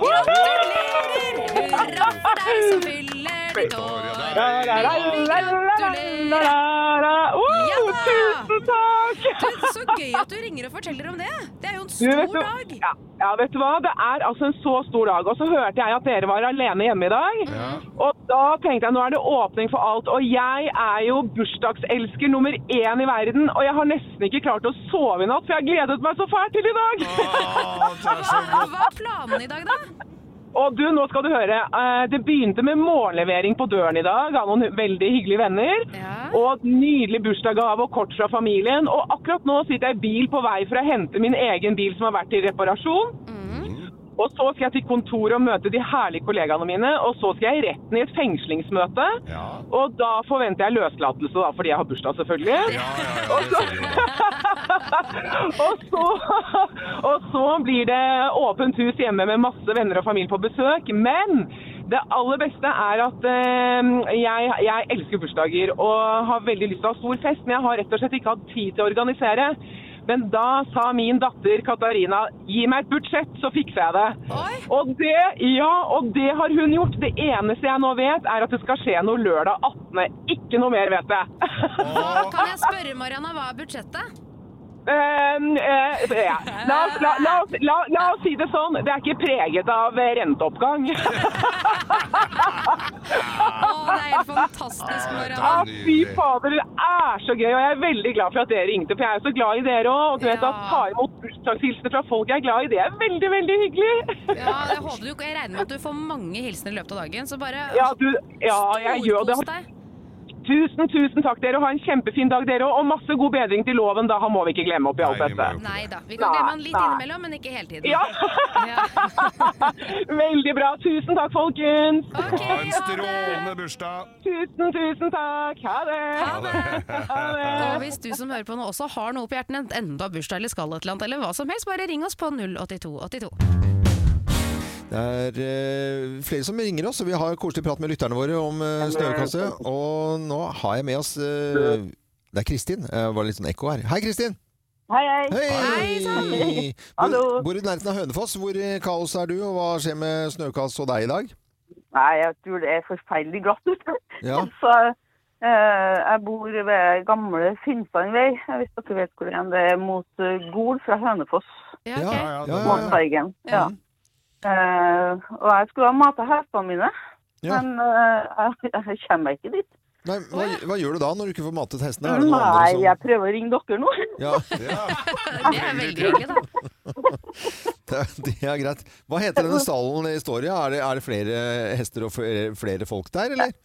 Speaker 5: Gratulerer! Hurra for deg som fyller ditt år.
Speaker 10: La, la, la, la, la, la, la, la, la. Oh,
Speaker 5: Ja da!
Speaker 10: tusen takk!
Speaker 5: Du, Så gøy at du ringer og forteller om det. Det er jo en
Speaker 10: Du, vet
Speaker 5: stor
Speaker 10: du-
Speaker 5: dag.
Speaker 10: Ja, ja, vet du hva? Det er altså en så stor dag. Og så hørte jeg at dere var alene hjemme i dag. Og da tenkte jeg nå er det åpning for alt. Og jeg er jo bursdagselsker nummer én i verden. Og jeg har nesten ikke klart å sove i natt, for jeg har gledet meg så fælt til i dag.
Speaker 5: Hva er planene i dag, da?
Speaker 10: Og du, nå skal du høre. Eh, Det begynte med morgenlevering på døren i dag av noen veldig hyggelige venner.
Speaker 5: Ja.
Speaker 10: Og nydelig bursdagsgave og kort fra familien. Og akkurat nå sitter jeg i bil på vei for å hente min egen bil som har vært i reparasjon.
Speaker 2: Mm.
Speaker 10: Og så skal jeg til kontoret og møte de herlige kollegaene mine. Og så skal jeg i retten i et fengslingsmøte.
Speaker 2: Ja,
Speaker 10: Og da forventer jeg løslatelse, da, fordi jeg har bursdag, selvfølgelig.
Speaker 2: ja, ja, ja, det sier du da.
Speaker 10: Og så, og så blir det åpent hus hjemme med masse venner og familie på besøk. Men det aller beste er at eh, jeg, jeg elsker bursdager og har veldig lyst til å ha stor fest, men jeg har rett og slett ikke hatt tid til å organisere. Men da sa min datter Katarina 'gi meg et budsjett, så fikser jeg det'.
Speaker 5: Oi.
Speaker 10: Og det, ja, og det har hun gjort. Det eneste jeg nå vet, er at det skal skje noe lørdag 18. Ikke noe mer, vet jeg.
Speaker 5: Hva, kan jeg spørre, Mariana, hva er budsjettet?
Speaker 10: Ehm, eh, ja. la, oss, la, la, oss, la, la oss si det sånn, det er ikke preget av eh, renteoppgang. *laughs*
Speaker 5: Å, det er helt fantastisk, Mariana.
Speaker 10: Ah, Fy fader, det er så gøy, og jeg er veldig glad for at dere ringte, for jeg er jo så glad i dere òg. Og du vet
Speaker 5: Ja.
Speaker 10: at ta imot bursdagshilsener fra folk jeg er glad i, det er veldig, veldig hyggelig. *laughs*
Speaker 5: Ja, jeg, håper du, jeg regner med at du får mange hilsener i løpet av dagen, så bare
Speaker 10: Ja, du, ja jeg gjør det.
Speaker 5: storkos deg.
Speaker 10: Tusen, tusen takk, dere. og Ha en kjempefin dag, dere òg. Og masse god bedring til loven, da. Han må vi ikke glemme oppi alt
Speaker 2: Nei, vi må
Speaker 10: dette.
Speaker 2: jo ikke
Speaker 5: Nei
Speaker 2: det.
Speaker 5: da. Vi kan glemme han litt
Speaker 10: Nei.
Speaker 5: innimellom, men ikke hele tiden.
Speaker 10: Ja.
Speaker 5: Ja.
Speaker 10: Veldig bra. Tusen takk, folkens.
Speaker 5: Ok,
Speaker 2: Ha en
Speaker 5: ha det.
Speaker 2: strålende bursdag.
Speaker 10: Tusen, tusen takk. Ha det.
Speaker 5: Ha det.
Speaker 10: Ha
Speaker 5: Og
Speaker 10: det.
Speaker 5: hvis du som hører på nå også har noe på hjertet, enten- enten du har bursdag eller skal et eller annet, eller hva som helst, bare ring oss på 08282.
Speaker 1: Det er eh, flere som ringer oss, og vi har koselig prat med lytterne våre om eh, snøkasse. Og nå har jeg med oss eh, Det er Kristin. Det var litt sånn ekko her. Hei, Kristin!
Speaker 6: Hei, hei.
Speaker 1: Hei! Bor,
Speaker 6: Hallo.
Speaker 1: eh, bor i nærheten av Hønefoss. Hvor i kaos er du, og hva skjer med snøkass og deg i dag?
Speaker 6: Nei, jeg tror det er forferdelig glatt ute.
Speaker 1: Ja.
Speaker 6: Så eh, jeg bor ved gamle Finnfangvei, hvis dere vet hvor det er. Det er mot eh, Gol fra Hønefoss,
Speaker 5: Ja, ok.
Speaker 2: Ja, ja,
Speaker 1: Ja, ja,
Speaker 6: Målfargen. Ja. Eh, og jeg skulle ha mata hestene mine,
Speaker 1: Ja.
Speaker 6: men eh, jeg, jeg kommer meg ikke dit.
Speaker 1: Nei, hva, hva gjør du da når du ikke får matet hestene? Er det noen
Speaker 6: Nei,
Speaker 1: andre
Speaker 6: jeg prøver å ringe dere nå.
Speaker 1: som ja,
Speaker 5: *laughs*
Speaker 1: *laughs*
Speaker 5: Det er veldig hyggelig, da.
Speaker 1: det, det er greit. Hva heter denne stallen i Storia? Er det, er det flere hester og flere, flere folk der, eller?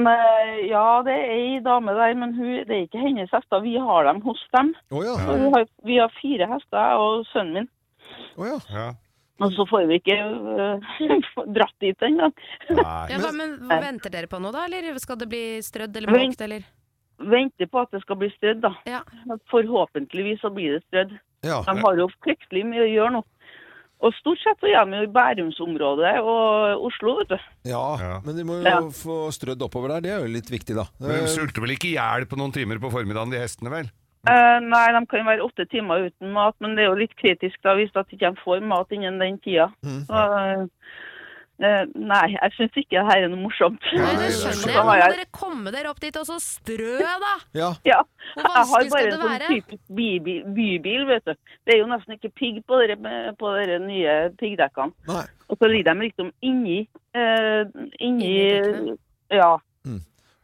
Speaker 6: Nei, ja, det er ei dame der, men hun, det er ikke hennes hester. Vi har dem hos dem.
Speaker 1: Å ja.
Speaker 6: Så vi, har, vi har fire hester, jeg og sønnen min.
Speaker 1: å ja.
Speaker 2: ja.
Speaker 6: Og så får vi ikke øh, *laughs* dratt dit engang.
Speaker 2: Nei.
Speaker 5: Ja, hva, men hva venter dere på nå, da? Eller skal det bli strødd eller
Speaker 6: Vent.
Speaker 5: måkt, eller?
Speaker 6: Venter på at det skal bli strødd, da.
Speaker 5: Ja.
Speaker 6: Forhåpentligvis så blir det strødd.
Speaker 1: Ja.
Speaker 6: De har jo fryktelig mye å gjøre nå. Og stort sett så er de jo i Bærumsområdet og Oslo, vet du.
Speaker 1: ja,
Speaker 2: Ja.
Speaker 1: men de må jo
Speaker 6: Ja.
Speaker 1: få strødd oppover der. Det er jo litt viktig, da. Eh,
Speaker 2: Men de sulter vel ikke i hjel på noen timer på formiddagen, de hestene, vel?
Speaker 6: Eh, nei, de kan være åtte timer uten mat, men det er jo litt kritisk da hvis at de ikke får mat innen den tida.
Speaker 1: Mm.
Speaker 6: Så, eh, nei, jeg syns ikke det her er noe morsomt.
Speaker 5: Nei,
Speaker 6: *laughs*
Speaker 5: det
Speaker 1: nei, det er
Speaker 5: skjønner jeg.
Speaker 1: klart.
Speaker 6: Da har
Speaker 5: Men
Speaker 6: jeg-
Speaker 5: dere komme dere opp dit, og så strø, da!
Speaker 1: Ja.
Speaker 6: Ja.
Speaker 5: Hvor
Speaker 6: Jeg har
Speaker 5: vanskelig
Speaker 6: bare
Speaker 5: skal
Speaker 6: en
Speaker 5: det
Speaker 6: sånn
Speaker 5: være?
Speaker 6: typisk bybil, bybil, vet du. Det er jo nesten ikke pigg på dere, på dere nye piggdekkene.
Speaker 1: Nei.
Speaker 6: Og så ligger de liksom inni eh, *laughs* inni
Speaker 5: Inni dekkene.
Speaker 6: Ja.
Speaker 1: Mm.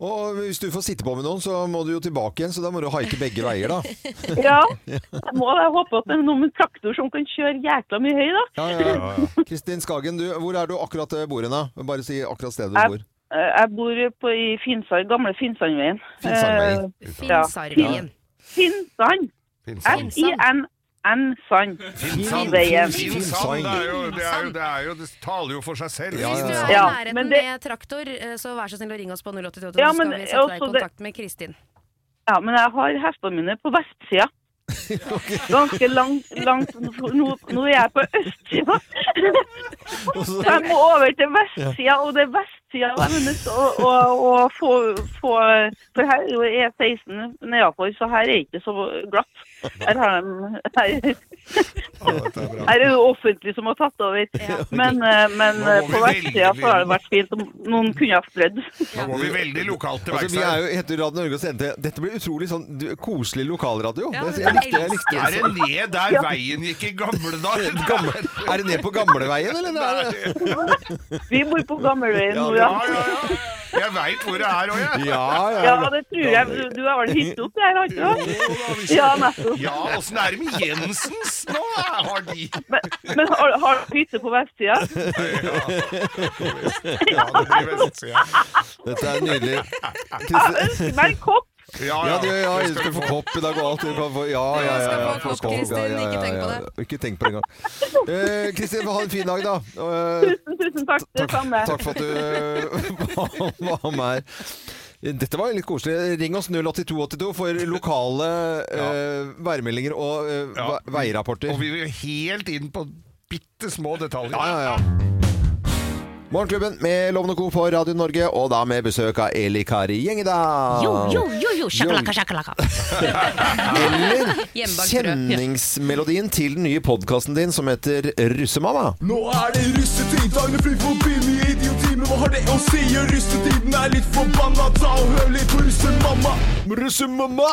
Speaker 1: Og hvis du får sitte på med noen, så må du jo tilbake igjen, så da må du haike begge veier, da.
Speaker 6: *laughs* ja. Jeg må jeg håper at det er noen med traktor som kan kjøre jækla mye høy, da.
Speaker 1: Ja, ja, ja. Kristin Skagen, du, hvor er du akkurat eh, bor hen, da? Bare si akkurat stedet du
Speaker 6: Jeg-
Speaker 1: bor.
Speaker 6: Eh, Jeg bor på, i Finsand, gamle Finsandveien.
Speaker 1: Finsandveien.
Speaker 6: Eh, Ja.
Speaker 5: Finnsarvien.
Speaker 6: Finsand.
Speaker 2: Finnsand.
Speaker 6: F-I-N-N-Sand. Veien.
Speaker 2: Finnsand, det er jo det, er jo, det, er jo, det taler jo for seg selv.
Speaker 1: Ja,
Speaker 5: Hvis du er
Speaker 1: ja, ja.
Speaker 5: i
Speaker 6: Ja,
Speaker 5: nærheten
Speaker 6: men det-
Speaker 5: med traktor, eh, så vær så snill å ringe oss på 082,
Speaker 6: Ja,
Speaker 5: så
Speaker 6: men
Speaker 5: skal vi sette deg i
Speaker 6: også det-
Speaker 5: kontakt med Kristin.
Speaker 6: Ja, men jeg har hestene mine på
Speaker 1: *laughs*
Speaker 6: vestsida. Ganske langt, langt nå, nå er jeg på østsida.
Speaker 1: Og
Speaker 6: Så
Speaker 1: så-
Speaker 6: jeg må over til vestsida, og det er vestsida jeg er nødt til å, å, å få, få For her er jo E16 nedafor, så her er ikke så glatt. Her, har de, her, her er det jo offentlig som har tatt over. Men, eh, men
Speaker 2: Nå må vi
Speaker 6: på vestsida
Speaker 2: velge-
Speaker 6: så har det vært fint om noen kunne ha strødd.
Speaker 2: Nå går vi veldig lokalt til
Speaker 1: Altså,
Speaker 2: verks
Speaker 1: vi er
Speaker 2: her.
Speaker 1: jo heter Radio Norge og sender til Dette blir utrolig sånn du, koselig lokalradio.
Speaker 5: Ja, men
Speaker 1: Det- jeg
Speaker 5: det
Speaker 1: likte, jeg likte
Speaker 2: Er det ned der veien gikk i
Speaker 1: *laughs*
Speaker 2: gamle dager?
Speaker 1: Gamle, er det ned på gamleveien, eller? Er det?
Speaker 6: Vi bor på Gammelveien nå,
Speaker 2: Ja,
Speaker 6: ja.
Speaker 2: ja, ja. Jeg veit hvor det er òg, jeg.
Speaker 1: Ja, ja.
Speaker 6: Ja, det tror jeg. Du, du har vel hytte oppi her, har ikke du? Ja, nettopp.
Speaker 2: Ja, åssen er det med Jensens nå? da? Har de
Speaker 6: Men, men har, har du hytte på vestsida?
Speaker 2: Ja, det blir
Speaker 6: *laughs*
Speaker 2: vest, ja.
Speaker 1: Dette er nydelig. Kristin,
Speaker 6: Ønsker meg en kopp!
Speaker 2: Ja,
Speaker 1: ja, du, ja,
Speaker 2: det
Speaker 1: du
Speaker 2: skal
Speaker 1: skal
Speaker 2: du
Speaker 1: få
Speaker 2: få.
Speaker 1: kopp i dag og alt. Du kan få, ja, ja, ja, ja,
Speaker 5: Du skal få
Speaker 1: få
Speaker 5: kopp, Kristin. Ikke tenk på
Speaker 1: Ikke tenk på det engang. Eh, Kristin, ha en fin dag, da. Eh,
Speaker 6: Tusen, tusen takk. Det
Speaker 1: Takk,
Speaker 6: samme.
Speaker 1: takk for at du var- *laughs* var med her. Dette var litt koselig. Ring oss 08282 for lokale eh, værmeldinger og eh,
Speaker 2: Ja.
Speaker 1: ve- veirapporter.
Speaker 2: Og vi vil helt inn på bitte små detaljer.
Speaker 1: Ja, ja, ja. Morgenklubben med Loven og Co. på Radio Norge, og da med besøk av Eli Kari Gjengedal.
Speaker 5: Jo,
Speaker 11: Ah.
Speaker 5: jo, jo, jo, sjakalaka, sjakalaka. *laughs*
Speaker 1: Eller
Speaker 5: Hjemmebakt brød.
Speaker 1: kjenningsmelodien til den nye podkasten din som heter Russemamma.
Speaker 12: Nå er det russetid, dagene flyr forbi mye idioti, men hva har det å si? Russetiden er litt forbanna, ta og hør litt på russemamma.
Speaker 1: Russemamma!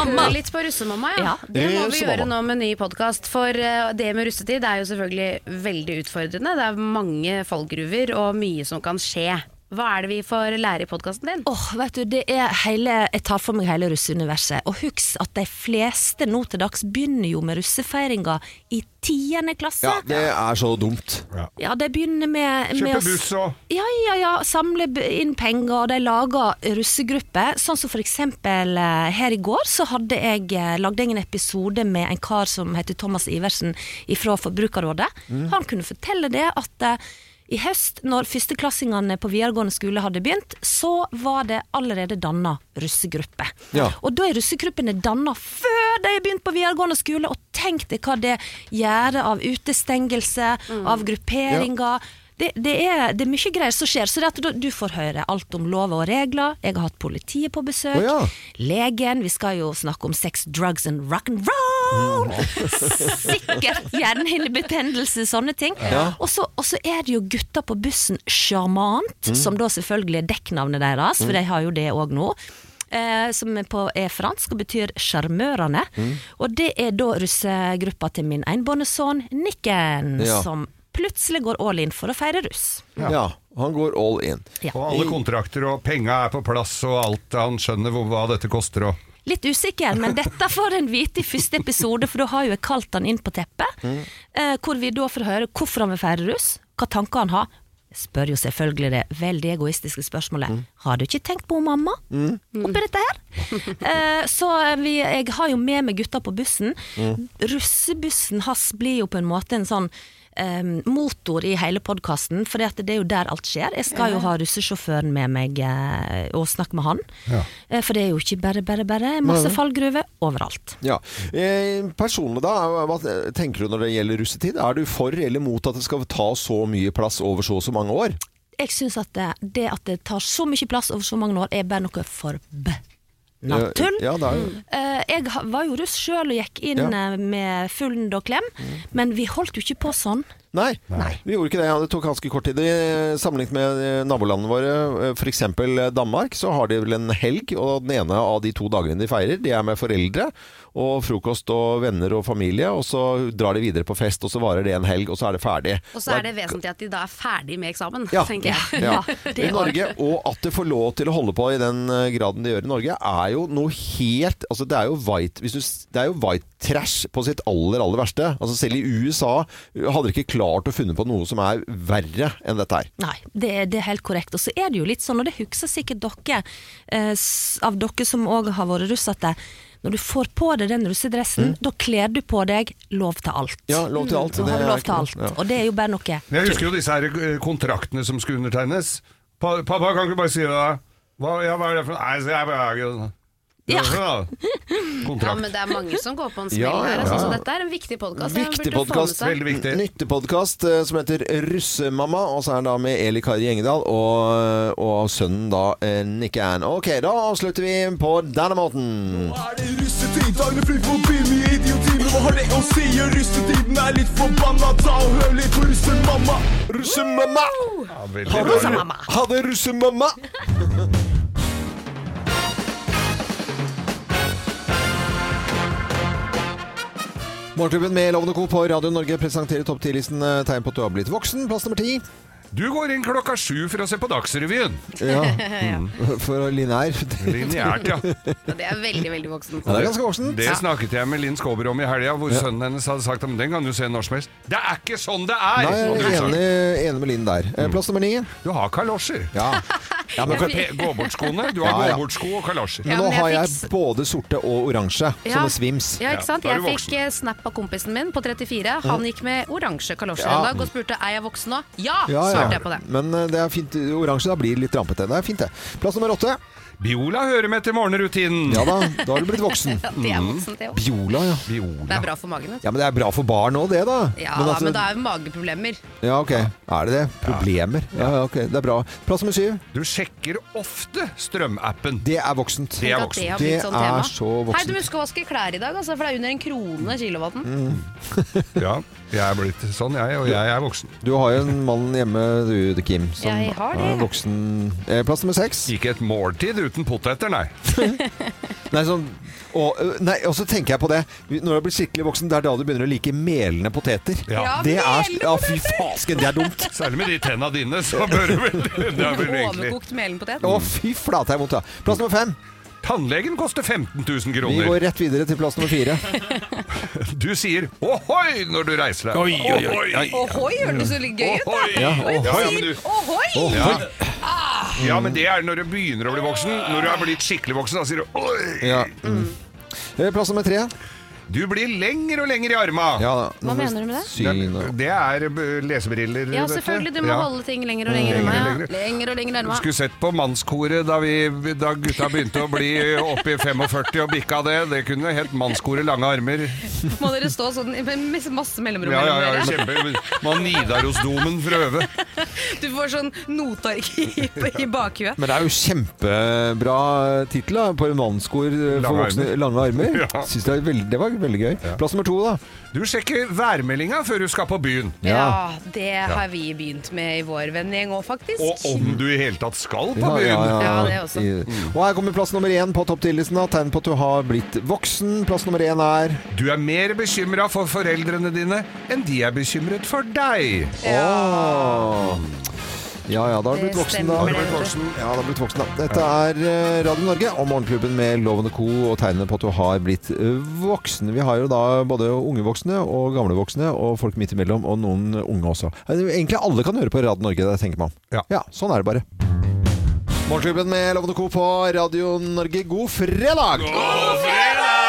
Speaker 5: Mamma. Litt på russemamma, ja. Det må vi gjøre nå med ny podkast. For eh, det med russetid er jo selvfølgelig veldig utfordrende. Det er mange fallgruver og mye som kan skje. Hva er det vi får lære i podkasten din?
Speaker 11: Åh, vet du, det er hele, Jeg tar for meg hele russeuniverset. Og husk at de fleste nå til dags begynner jo med russefeiringa i tiende klasse.
Speaker 1: Ja, det er så dumt.
Speaker 11: Ja, de begynner med, med
Speaker 2: Kjøpe
Speaker 11: å s-
Speaker 2: buss og
Speaker 11: Ja, ja, ja. Samle b- inn penger, og de lager russegrupper. Sånn som for eksempel eh, her i går, så hadde jeg eh, lagde jeg en episode med en kar som heter Thomas Iversen fra Forbrukerrådet.
Speaker 2: Mm.
Speaker 11: Han kunne fortelle det at eh, i høst, når førsteklassingene på videregående skole hadde begynt, så var det allerede danna russegrupper.
Speaker 1: Ja.
Speaker 11: Og da er russegruppene danna før de har begynt på videregående skole, og tenk deg hva det gjør av utestengelse,
Speaker 8: Mm.
Speaker 11: av grupperinger. Det, det, er, det er mye greier som skjer. Så det at du, du får høre alt om lover og regler. Jeg har hatt politiet på besøk.
Speaker 1: Å ja.
Speaker 11: Legen. Vi skal jo snakke om sex, drugs and rock and roll.
Speaker 8: *laughs*
Speaker 11: Sikkert hjernehinnebetennelse, sånne ting.
Speaker 8: Ja.
Speaker 11: Og så og så er det jo gutta på bussen Sjarmant,
Speaker 8: Mm.
Speaker 11: som da selvfølgelig er dekknavnet deres,
Speaker 8: Mm.
Speaker 11: for de har jo det òg nå. Eh, som er på er fransk og betyr sjarmørene.
Speaker 8: Mm.
Speaker 11: Og det er da russegruppa til min enbårne sønn Nikken,
Speaker 1: Ja.
Speaker 11: som plutselig går all in for å feire russ.
Speaker 1: Ja. han går all in.
Speaker 2: Og alle kontrakter og penga er på plass og alt. Han skjønner hvor, hva dette koster og
Speaker 11: Litt usikker, men dette får en vite i første episode, for da har jo jeg kalt han inn på teppet.
Speaker 1: Mm.
Speaker 11: Eh, hvor vi da får høre hvorfor han vil feire russ, hva tanker han har. Jeg Spør jo selvfølgelig det veldig egoistiske spørsmålet Har du ikke tenkt på mamma
Speaker 1: Mm.
Speaker 11: oppi dette her?
Speaker 1: *laughs*
Speaker 11: Eh, så vi, jeg har jo med meg gutta på bussen.
Speaker 8: Mm.
Speaker 11: Russebussen hans blir jo på en måte en sånn eh, motor i hele podkasten, for det er jo der alt skjer. Jeg skal jo ha russesjåføren med meg eh, og snakke med han. Eh, For det er jo ikke bare, bare, bare. Masse
Speaker 1: Nei.
Speaker 11: fallgruver overalt.
Speaker 1: Ja. Eh, personlig, da. Hva tenker du når det gjelder russetid? Er du for eller mot at det skal ta så mye plass over så og så mange år?
Speaker 11: Jeg syns at det, det at det tar så mye plass over så mange år, er bare noe forbanna
Speaker 1: Eh,
Speaker 11: tull.
Speaker 1: Ja, det er
Speaker 5: Mm.
Speaker 1: jo
Speaker 11: Eh, Jeg ha- var jo russ sjøl og gikk inn
Speaker 1: Ja. Mm.
Speaker 11: eh, med full ned og klem, men vi holdt jo ikke på sånn.
Speaker 1: Nei, vi gjorde ikke det. Ja, Det tok ganske kort tid. I- Sammenlignet med eh, nabolandene våre, eh, f.eks. Danmark, så har de vel en helg. Og den ene av de to dagene de feirer, det er med foreldre og frokost og venner og familie. Og så drar de videre på fest, og så varer det en helg, og så er det ferdig.
Speaker 5: Og så er det vesentlig at de da er ferdig med eksamen, tenker jeg. *laughs*
Speaker 1: Ja. I Norge, og at de får lov til å holde på i den eh, graden de gjør i Norge, er jo noe helt Altså, det er jo white, hvis du, s- det er jo white trash på sitt aller, aller verste. Altså, selv i USA eh, hadde de ikke klart å funne på noe som er verre enn dette her.
Speaker 11: Nei, det, er- det er helt korrekt. Og så er det jo litt sånn, og det husker sikkert dere, eh, s- av dere som òg har vært russ, at det, når du får på deg den russedressen, da kler du på deg lov til alt.
Speaker 1: Mm. Ja, lov til alt,
Speaker 11: Mm,
Speaker 1: og
Speaker 11: Da
Speaker 1: det
Speaker 11: har du
Speaker 1: er
Speaker 11: lov til
Speaker 1: ikke
Speaker 11: alt.
Speaker 1: noe- ja.
Speaker 11: Og det er jo bare noe
Speaker 2: Men Jeg husker jo disse her eh, kontraktene som skulle undertegnes. Pa, pappa, kan ikke du bare si det? da? Hva, ja, hva er det for Nei, så jeg bare
Speaker 5: Ja. Ja,
Speaker 2: Kontrakt.
Speaker 5: men det er mange som går på en smell
Speaker 1: Ja, ja,
Speaker 5: her. Altså,
Speaker 1: ja.
Speaker 5: så dette er en viktig podkast.
Speaker 1: Viktig podkast. Nyttig podkast eh, som heter Russemamma, og så er den da med Eli Kari Engedal og, og sønnen da eh, Nick Ann. Ok, da avslutter vi på denne måten.
Speaker 12: Er det russetid? Dagene flyr forbi med idiotimer. Hva har det å si? Russetiden er litt forbanna. Ta og hør litt på russemamma.
Speaker 1: Russemamma!
Speaker 2: Ha
Speaker 12: det,
Speaker 1: Russemamma. Ha det, russemamma! Morgenklubben med Lovende Co. på Radio Norge presenterer topp 10-listen eh, tegn på at du har blitt voksen. Plass nummer ti.
Speaker 2: Du går inn klokka sju for å se på Dagsrevyen.
Speaker 5: *laughs*
Speaker 1: Ja. Mm. For lineær.
Speaker 2: *laughs* Lineært, ja.
Speaker 5: Ja, det er veldig, veldig voksen.
Speaker 1: Ja, det er ganske voksent.
Speaker 2: Det snakket jeg med Linn Skåber om i helga, hvor sønnen hennes hadde sagt at den kan du se når som helst. Det er ikke sånn det er!
Speaker 1: Nei,
Speaker 2: hadde
Speaker 1: jeg
Speaker 2: hun
Speaker 1: er
Speaker 2: sagt.
Speaker 1: enig, enig med Linn der. Eh, Plass nummer ni.
Speaker 2: Du har kalosjer.
Speaker 1: Ja.
Speaker 5: *laughs*
Speaker 1: Ja, men-
Speaker 2: Du har pe- gåbortskoene. Du har
Speaker 1: Ja, ja.
Speaker 2: gåbortsko og kalosjer.
Speaker 1: Men nå har jeg både sorte og oransje,
Speaker 5: Ja.
Speaker 1: sånne svims.
Speaker 5: Ja, ikke sant?
Speaker 2: da er
Speaker 5: Jeg
Speaker 2: du
Speaker 5: fikk eh, snap av kompisen min på 34.
Speaker 1: Mm.
Speaker 5: Han gikk med oransje kalosjer
Speaker 1: Ja.
Speaker 5: en dag og spurte er jeg voksen nå. Ja,
Speaker 1: Ja, ja.
Speaker 5: svarte jeg på det.
Speaker 1: Men eh, det er fint. Oransje, da blir det litt rampete. Det er fint, det. Plass nummer åtte.
Speaker 2: Biola hører med til morgenrutinen.
Speaker 1: Ja da, da har du blitt voksen.
Speaker 5: *laughs* Ja, det er voksent, det òg.
Speaker 1: Biola, ja.
Speaker 5: Det er bra for magen. Vet du.
Speaker 1: Ja, men det er bra for barn òg, det, da.
Speaker 5: Ja,
Speaker 1: Men
Speaker 5: da,
Speaker 1: altså-
Speaker 5: men da er jo mageproblemer.
Speaker 1: Ja, ok. Er det det? Problemer? Ja, ja, ok. Det er bra. Plass nummer syv.
Speaker 2: Du sjekker ofte strømappen.
Speaker 1: Det er voksent.
Speaker 2: Det er
Speaker 5: At det
Speaker 2: voksent.
Speaker 5: har blitt sånn tema.
Speaker 1: er så
Speaker 5: Hei, du må
Speaker 1: voksent.
Speaker 5: huske å vaske klær i dag, altså, for det er under en krone kilowatten.
Speaker 1: Mm.
Speaker 2: Ja, jeg er blitt sånn, jeg, og jeg er voksen.
Speaker 1: Du har jo en mann hjemme, du, Kim, som
Speaker 5: Jeg har det,
Speaker 1: er
Speaker 5: ja.
Speaker 1: voksen. Eh, Plass nummer seks.
Speaker 2: Ikke et måltid uten poteter, nei.
Speaker 1: *laughs* Nei, sånn, og, ø, nei, og så tenker jeg på det Når du blir skikkelig voksen, det er da du begynner å like melende poteter.
Speaker 2: Ja.
Speaker 1: det
Speaker 2: Ja,
Speaker 1: er, ja fy fasken, det er
Speaker 5: *laughs*
Speaker 1: dumt.
Speaker 2: Særlig med de tenna dine, så bør du vel Det er vel egentlig
Speaker 5: Overkokt melenpotet.
Speaker 1: Å, fy flate, jeg er vondt, ja. Plass nummer fem.
Speaker 2: Tannlegen koster 15 000
Speaker 1: Vi
Speaker 2: kroner.
Speaker 1: går rett videre til plass nummer fire.
Speaker 2: Du sier ohoi når du reiser deg.
Speaker 1: Oi, oi, oi, oi.
Speaker 5: Ohoi, høres så litt gøy ut, da.
Speaker 1: Ja, ohoi.
Speaker 2: Ja, ja, men du-
Speaker 5: Ohoi!
Speaker 2: Ja. ja, men det er når du begynner å bli voksen. Når du er blitt skikkelig voksen, da sier du oi.
Speaker 1: Ja. Eh, Plass nummer tre.
Speaker 2: Du blir lenger og lenger i arma.
Speaker 1: Hva
Speaker 5: mener du med det?
Speaker 2: Det, det er eh, lesebriller.
Speaker 5: Ja,
Speaker 2: vet du.
Speaker 5: selvfølgelig. Du må
Speaker 2: Ja.
Speaker 5: holde ting lenger og
Speaker 1: Mm.
Speaker 5: lenger
Speaker 2: Lenger og
Speaker 5: unna.
Speaker 2: lenger.
Speaker 5: Ja. Lenger og lenger unna.
Speaker 2: Skulle sett på mannskoret da, vi, da gutta begynte å bli oppe i 45 og bikka det. Det kunne hett mannskoret lange armer.
Speaker 5: Må dere stå sånn med masse mellomrom
Speaker 2: Ja, ja, ja,
Speaker 5: mellom dere?
Speaker 2: kjempe. Man Nidarosdomen for å øve.
Speaker 5: *laughs* Du får sånn noteark i, i bakhuet.
Speaker 1: Men det er jo kjempebra tittel da, på en mannskor eh, for
Speaker 2: Lange
Speaker 1: voksne.
Speaker 2: armer.
Speaker 1: Lange armer.
Speaker 2: Ja.
Speaker 1: *laughs* Synes det, er veldig, det var vel. Veldig gøy. Plass nummer to, da.
Speaker 2: Du sjekker værmeldinga før du skal på byen.
Speaker 13: Ja, det har vi begynt med i vår vennegjeng òg, faktisk.
Speaker 2: Og om du i hele tatt skal på
Speaker 1: Ja,
Speaker 2: byen.
Speaker 1: ja, ja.
Speaker 13: det også.
Speaker 1: I- Og her kommer plass nummer én på topptillitsen. da. Tegn på at du har blitt voksen. Plass nummer én er
Speaker 2: Du er mer bekymra for foreldrene dine enn de er bekymret for deg.
Speaker 1: Åh. Ja ja, da har du
Speaker 2: Det
Speaker 1: blitt voksen, da.
Speaker 2: stemmer, Har du blitt det. voksen?
Speaker 1: Ja, da har du blitt voksen da. Dette er eh, Radio Norge og Morgenklubben med Lovende Co. og tegnene på at du har blitt eh, voksen. Vi har jo da både unge voksne og gamle voksne og folk midt imellom, og noen unge også. Eh, Egentlig alle kan høre på Radio Norge, det tenker man. Ja. sånn er det bare. Morgenklubben med Lovende Co. på Radio Norge, god fredag! God fredag!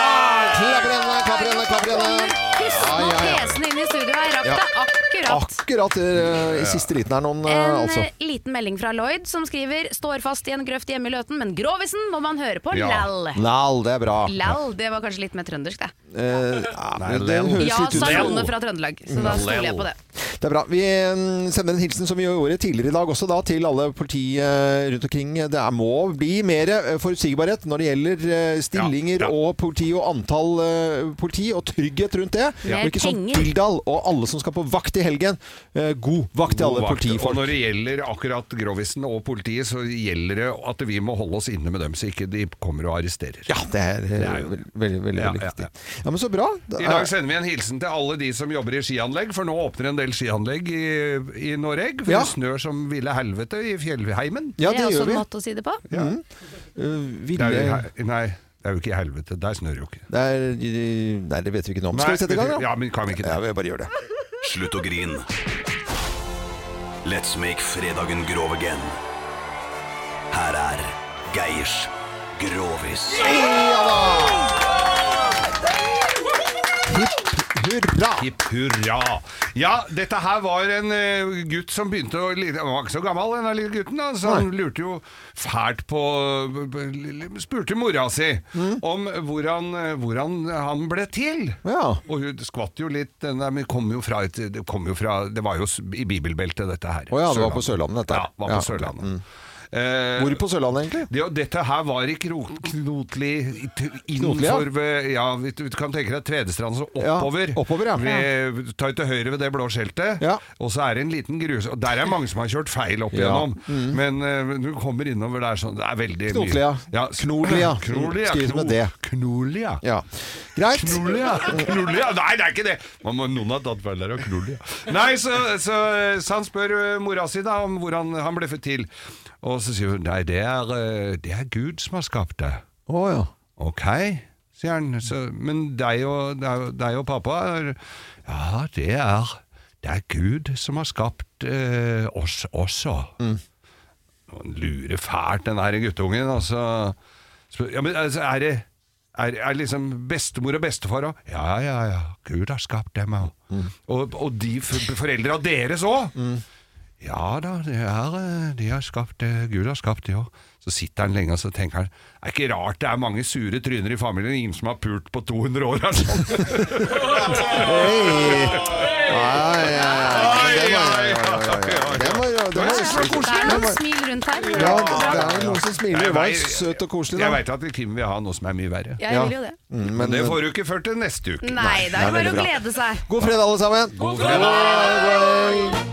Speaker 1: Klapper henne, klapper henne, klapper henne.
Speaker 13: Pusten
Speaker 1: Ja,
Speaker 13: og
Speaker 1: ja, ja.
Speaker 13: pesen inn i studio her. Rakk
Speaker 1: Ja.
Speaker 13: det akkurat.
Speaker 1: Akkurat eh, i siste liten her noen, eh,
Speaker 5: En
Speaker 1: altså.
Speaker 5: eh, liten melding fra Lloyd som skriver 'Står fast i en grøft hjemme i Løten, men Grovisen må man høre på lall'.
Speaker 1: Lal, det er bra.
Speaker 5: Lall, det var kanskje litt mer trøndersk, det.
Speaker 1: Eh, ja, det
Speaker 5: lel.
Speaker 1: høres
Speaker 5: Ja,
Speaker 1: litt ut
Speaker 5: sa noen fra Trøndelag, så da stoler jeg på det.
Speaker 1: Det er bra. Vi eh, sender en hilsen som vi gjorde tidligere i dag også, da, til alle politi eh, rundt omkring. Det er, må bli mer eh, forutsigbarhet når det gjelder eh, stillinger og politi og antall eh, politi, og trygghet rundt det.
Speaker 2: Ja.
Speaker 1: Og ikke sånn
Speaker 2: Mer penger.
Speaker 1: dilldall og alle som skal på vakt i helgen. Eh, God vakt til alle
Speaker 2: God vakt.
Speaker 1: politifolk.
Speaker 2: Og når det gjelder akkurat Grovisen og politiet, så gjelder det at vi må holde oss inne med dem, så ikke de kommer og arresterer.
Speaker 1: Ja, det er, eh,
Speaker 2: Det er jo-
Speaker 1: veldig, veldig, veldig
Speaker 2: Ja, ja,
Speaker 1: viktig. Ja, men så bra. Da-
Speaker 2: I dag sender vi en hilsen til alle de som jobber i skianlegg, for nå åpner en del skianlegg i, i Norge. For
Speaker 1: Ja.
Speaker 2: det snør som ville helvete i fjellheimen.
Speaker 1: Ja, det
Speaker 5: er
Speaker 1: gjør
Speaker 5: også en
Speaker 1: vi.
Speaker 5: måte å si det på.
Speaker 1: Mm. Eh, ville-
Speaker 2: Det er jo, i he- nei, det er jo ikke i helvete. Der snør jo ikke.
Speaker 1: Det er, nei, det vet vi ikke noe om. Skal
Speaker 2: Nei,
Speaker 1: vi sette i gang, da?
Speaker 2: Ja, men kan vi ikke det?
Speaker 1: Ja, vi bare gjør det.
Speaker 14: Slutt å grine. Let's make fredagen grov again. Her er Geirs Grovis.
Speaker 1: Hipp hurra!
Speaker 2: Hipp hurra. Ja, dette her var en eh, gutt som begynte å lide Han var ikke så gammel, denne lille gutten. Da, så han lurte jo fælt på Spurte mora si
Speaker 1: Mm.
Speaker 2: om hvordan, hvordan han ble til. Og hun skvatt jo litt. Den der, men kom jo fra, et, det kom jo fra Det var jo s- i bibelbeltet, dette her.
Speaker 1: Å ja, det var på Sørlandet, dette.
Speaker 2: Ja, var på
Speaker 1: Ja, ok.
Speaker 2: Sørlandet.
Speaker 1: Mm.
Speaker 2: Eh,
Speaker 1: Hvor på Sørlandet, egentlig?
Speaker 2: det, og dette her var i Kro- Knotli i- t-
Speaker 1: Knotli, ja.
Speaker 2: innenfor ved- ja. vet du du kan tenke deg Tvedestrand, så
Speaker 1: Ja,
Speaker 2: oppover.
Speaker 1: oppover, ja.
Speaker 2: ved, ta til høyre ved det blå skjeltet, og så er det en liten grus... Og der er mange som har kjørt feil opp
Speaker 1: Ja.
Speaker 2: igjennom, men eh, du kommer innover der sånn Det er veldig
Speaker 1: Knotli, ja.
Speaker 2: mye ja.
Speaker 1: Knoli, ja.
Speaker 2: Knotli, ja.
Speaker 1: Skrives med det.
Speaker 2: Knoli, ja.
Speaker 1: ja. Greit.
Speaker 2: Knoli, ja. Knoli, ja. Nei, det er ikke det! Man må, noen har tatt feil der, og knoli, ja. Nei, så, så, så han spør eh, mora si da om hvordan han ble født til. Og så sier hun nei, det er, eh, det er Gud som har skapt deg.
Speaker 1: Å ja.
Speaker 2: Ok, sier han. Så, men deg og, deg, deg og pappa er, Ja, det er, det er Gud som har skapt eh, oss også.
Speaker 1: Mm.
Speaker 2: Han lurer fælt, den her guttungen. Altså. Spør- Ja, men altså, er det er, er liksom bestemor og bestefar òg? Ja, ja, ja. Gud har skapt dem òg.
Speaker 1: Mm,
Speaker 2: Og, og de f- foreldra deres òg! Ja da, det er, eh, de har skapt, eh, Gud har skapt de òg. Så sitter han lenge og så tenker han Det er ikke rart det er mange sure tryner i familien, ingen som har pult på 200
Speaker 1: *laughs*
Speaker 2: år. Altså.
Speaker 5: Det er noen smil rundt her.
Speaker 1: Ja, det er noen som smiler.
Speaker 2: Jeg
Speaker 1: Det var
Speaker 2: vet-
Speaker 1: søt og koselig, da.
Speaker 2: Jeg veit at Kim vil ha noe som er mye verre.
Speaker 5: Ja, jeg vil jo det.
Speaker 1: Mm,
Speaker 2: Men det får du ikke før til neste uke.
Speaker 5: Nei, det er jo bare å glede seg.
Speaker 1: God fredag, alle sammen. God fredag! God fredag.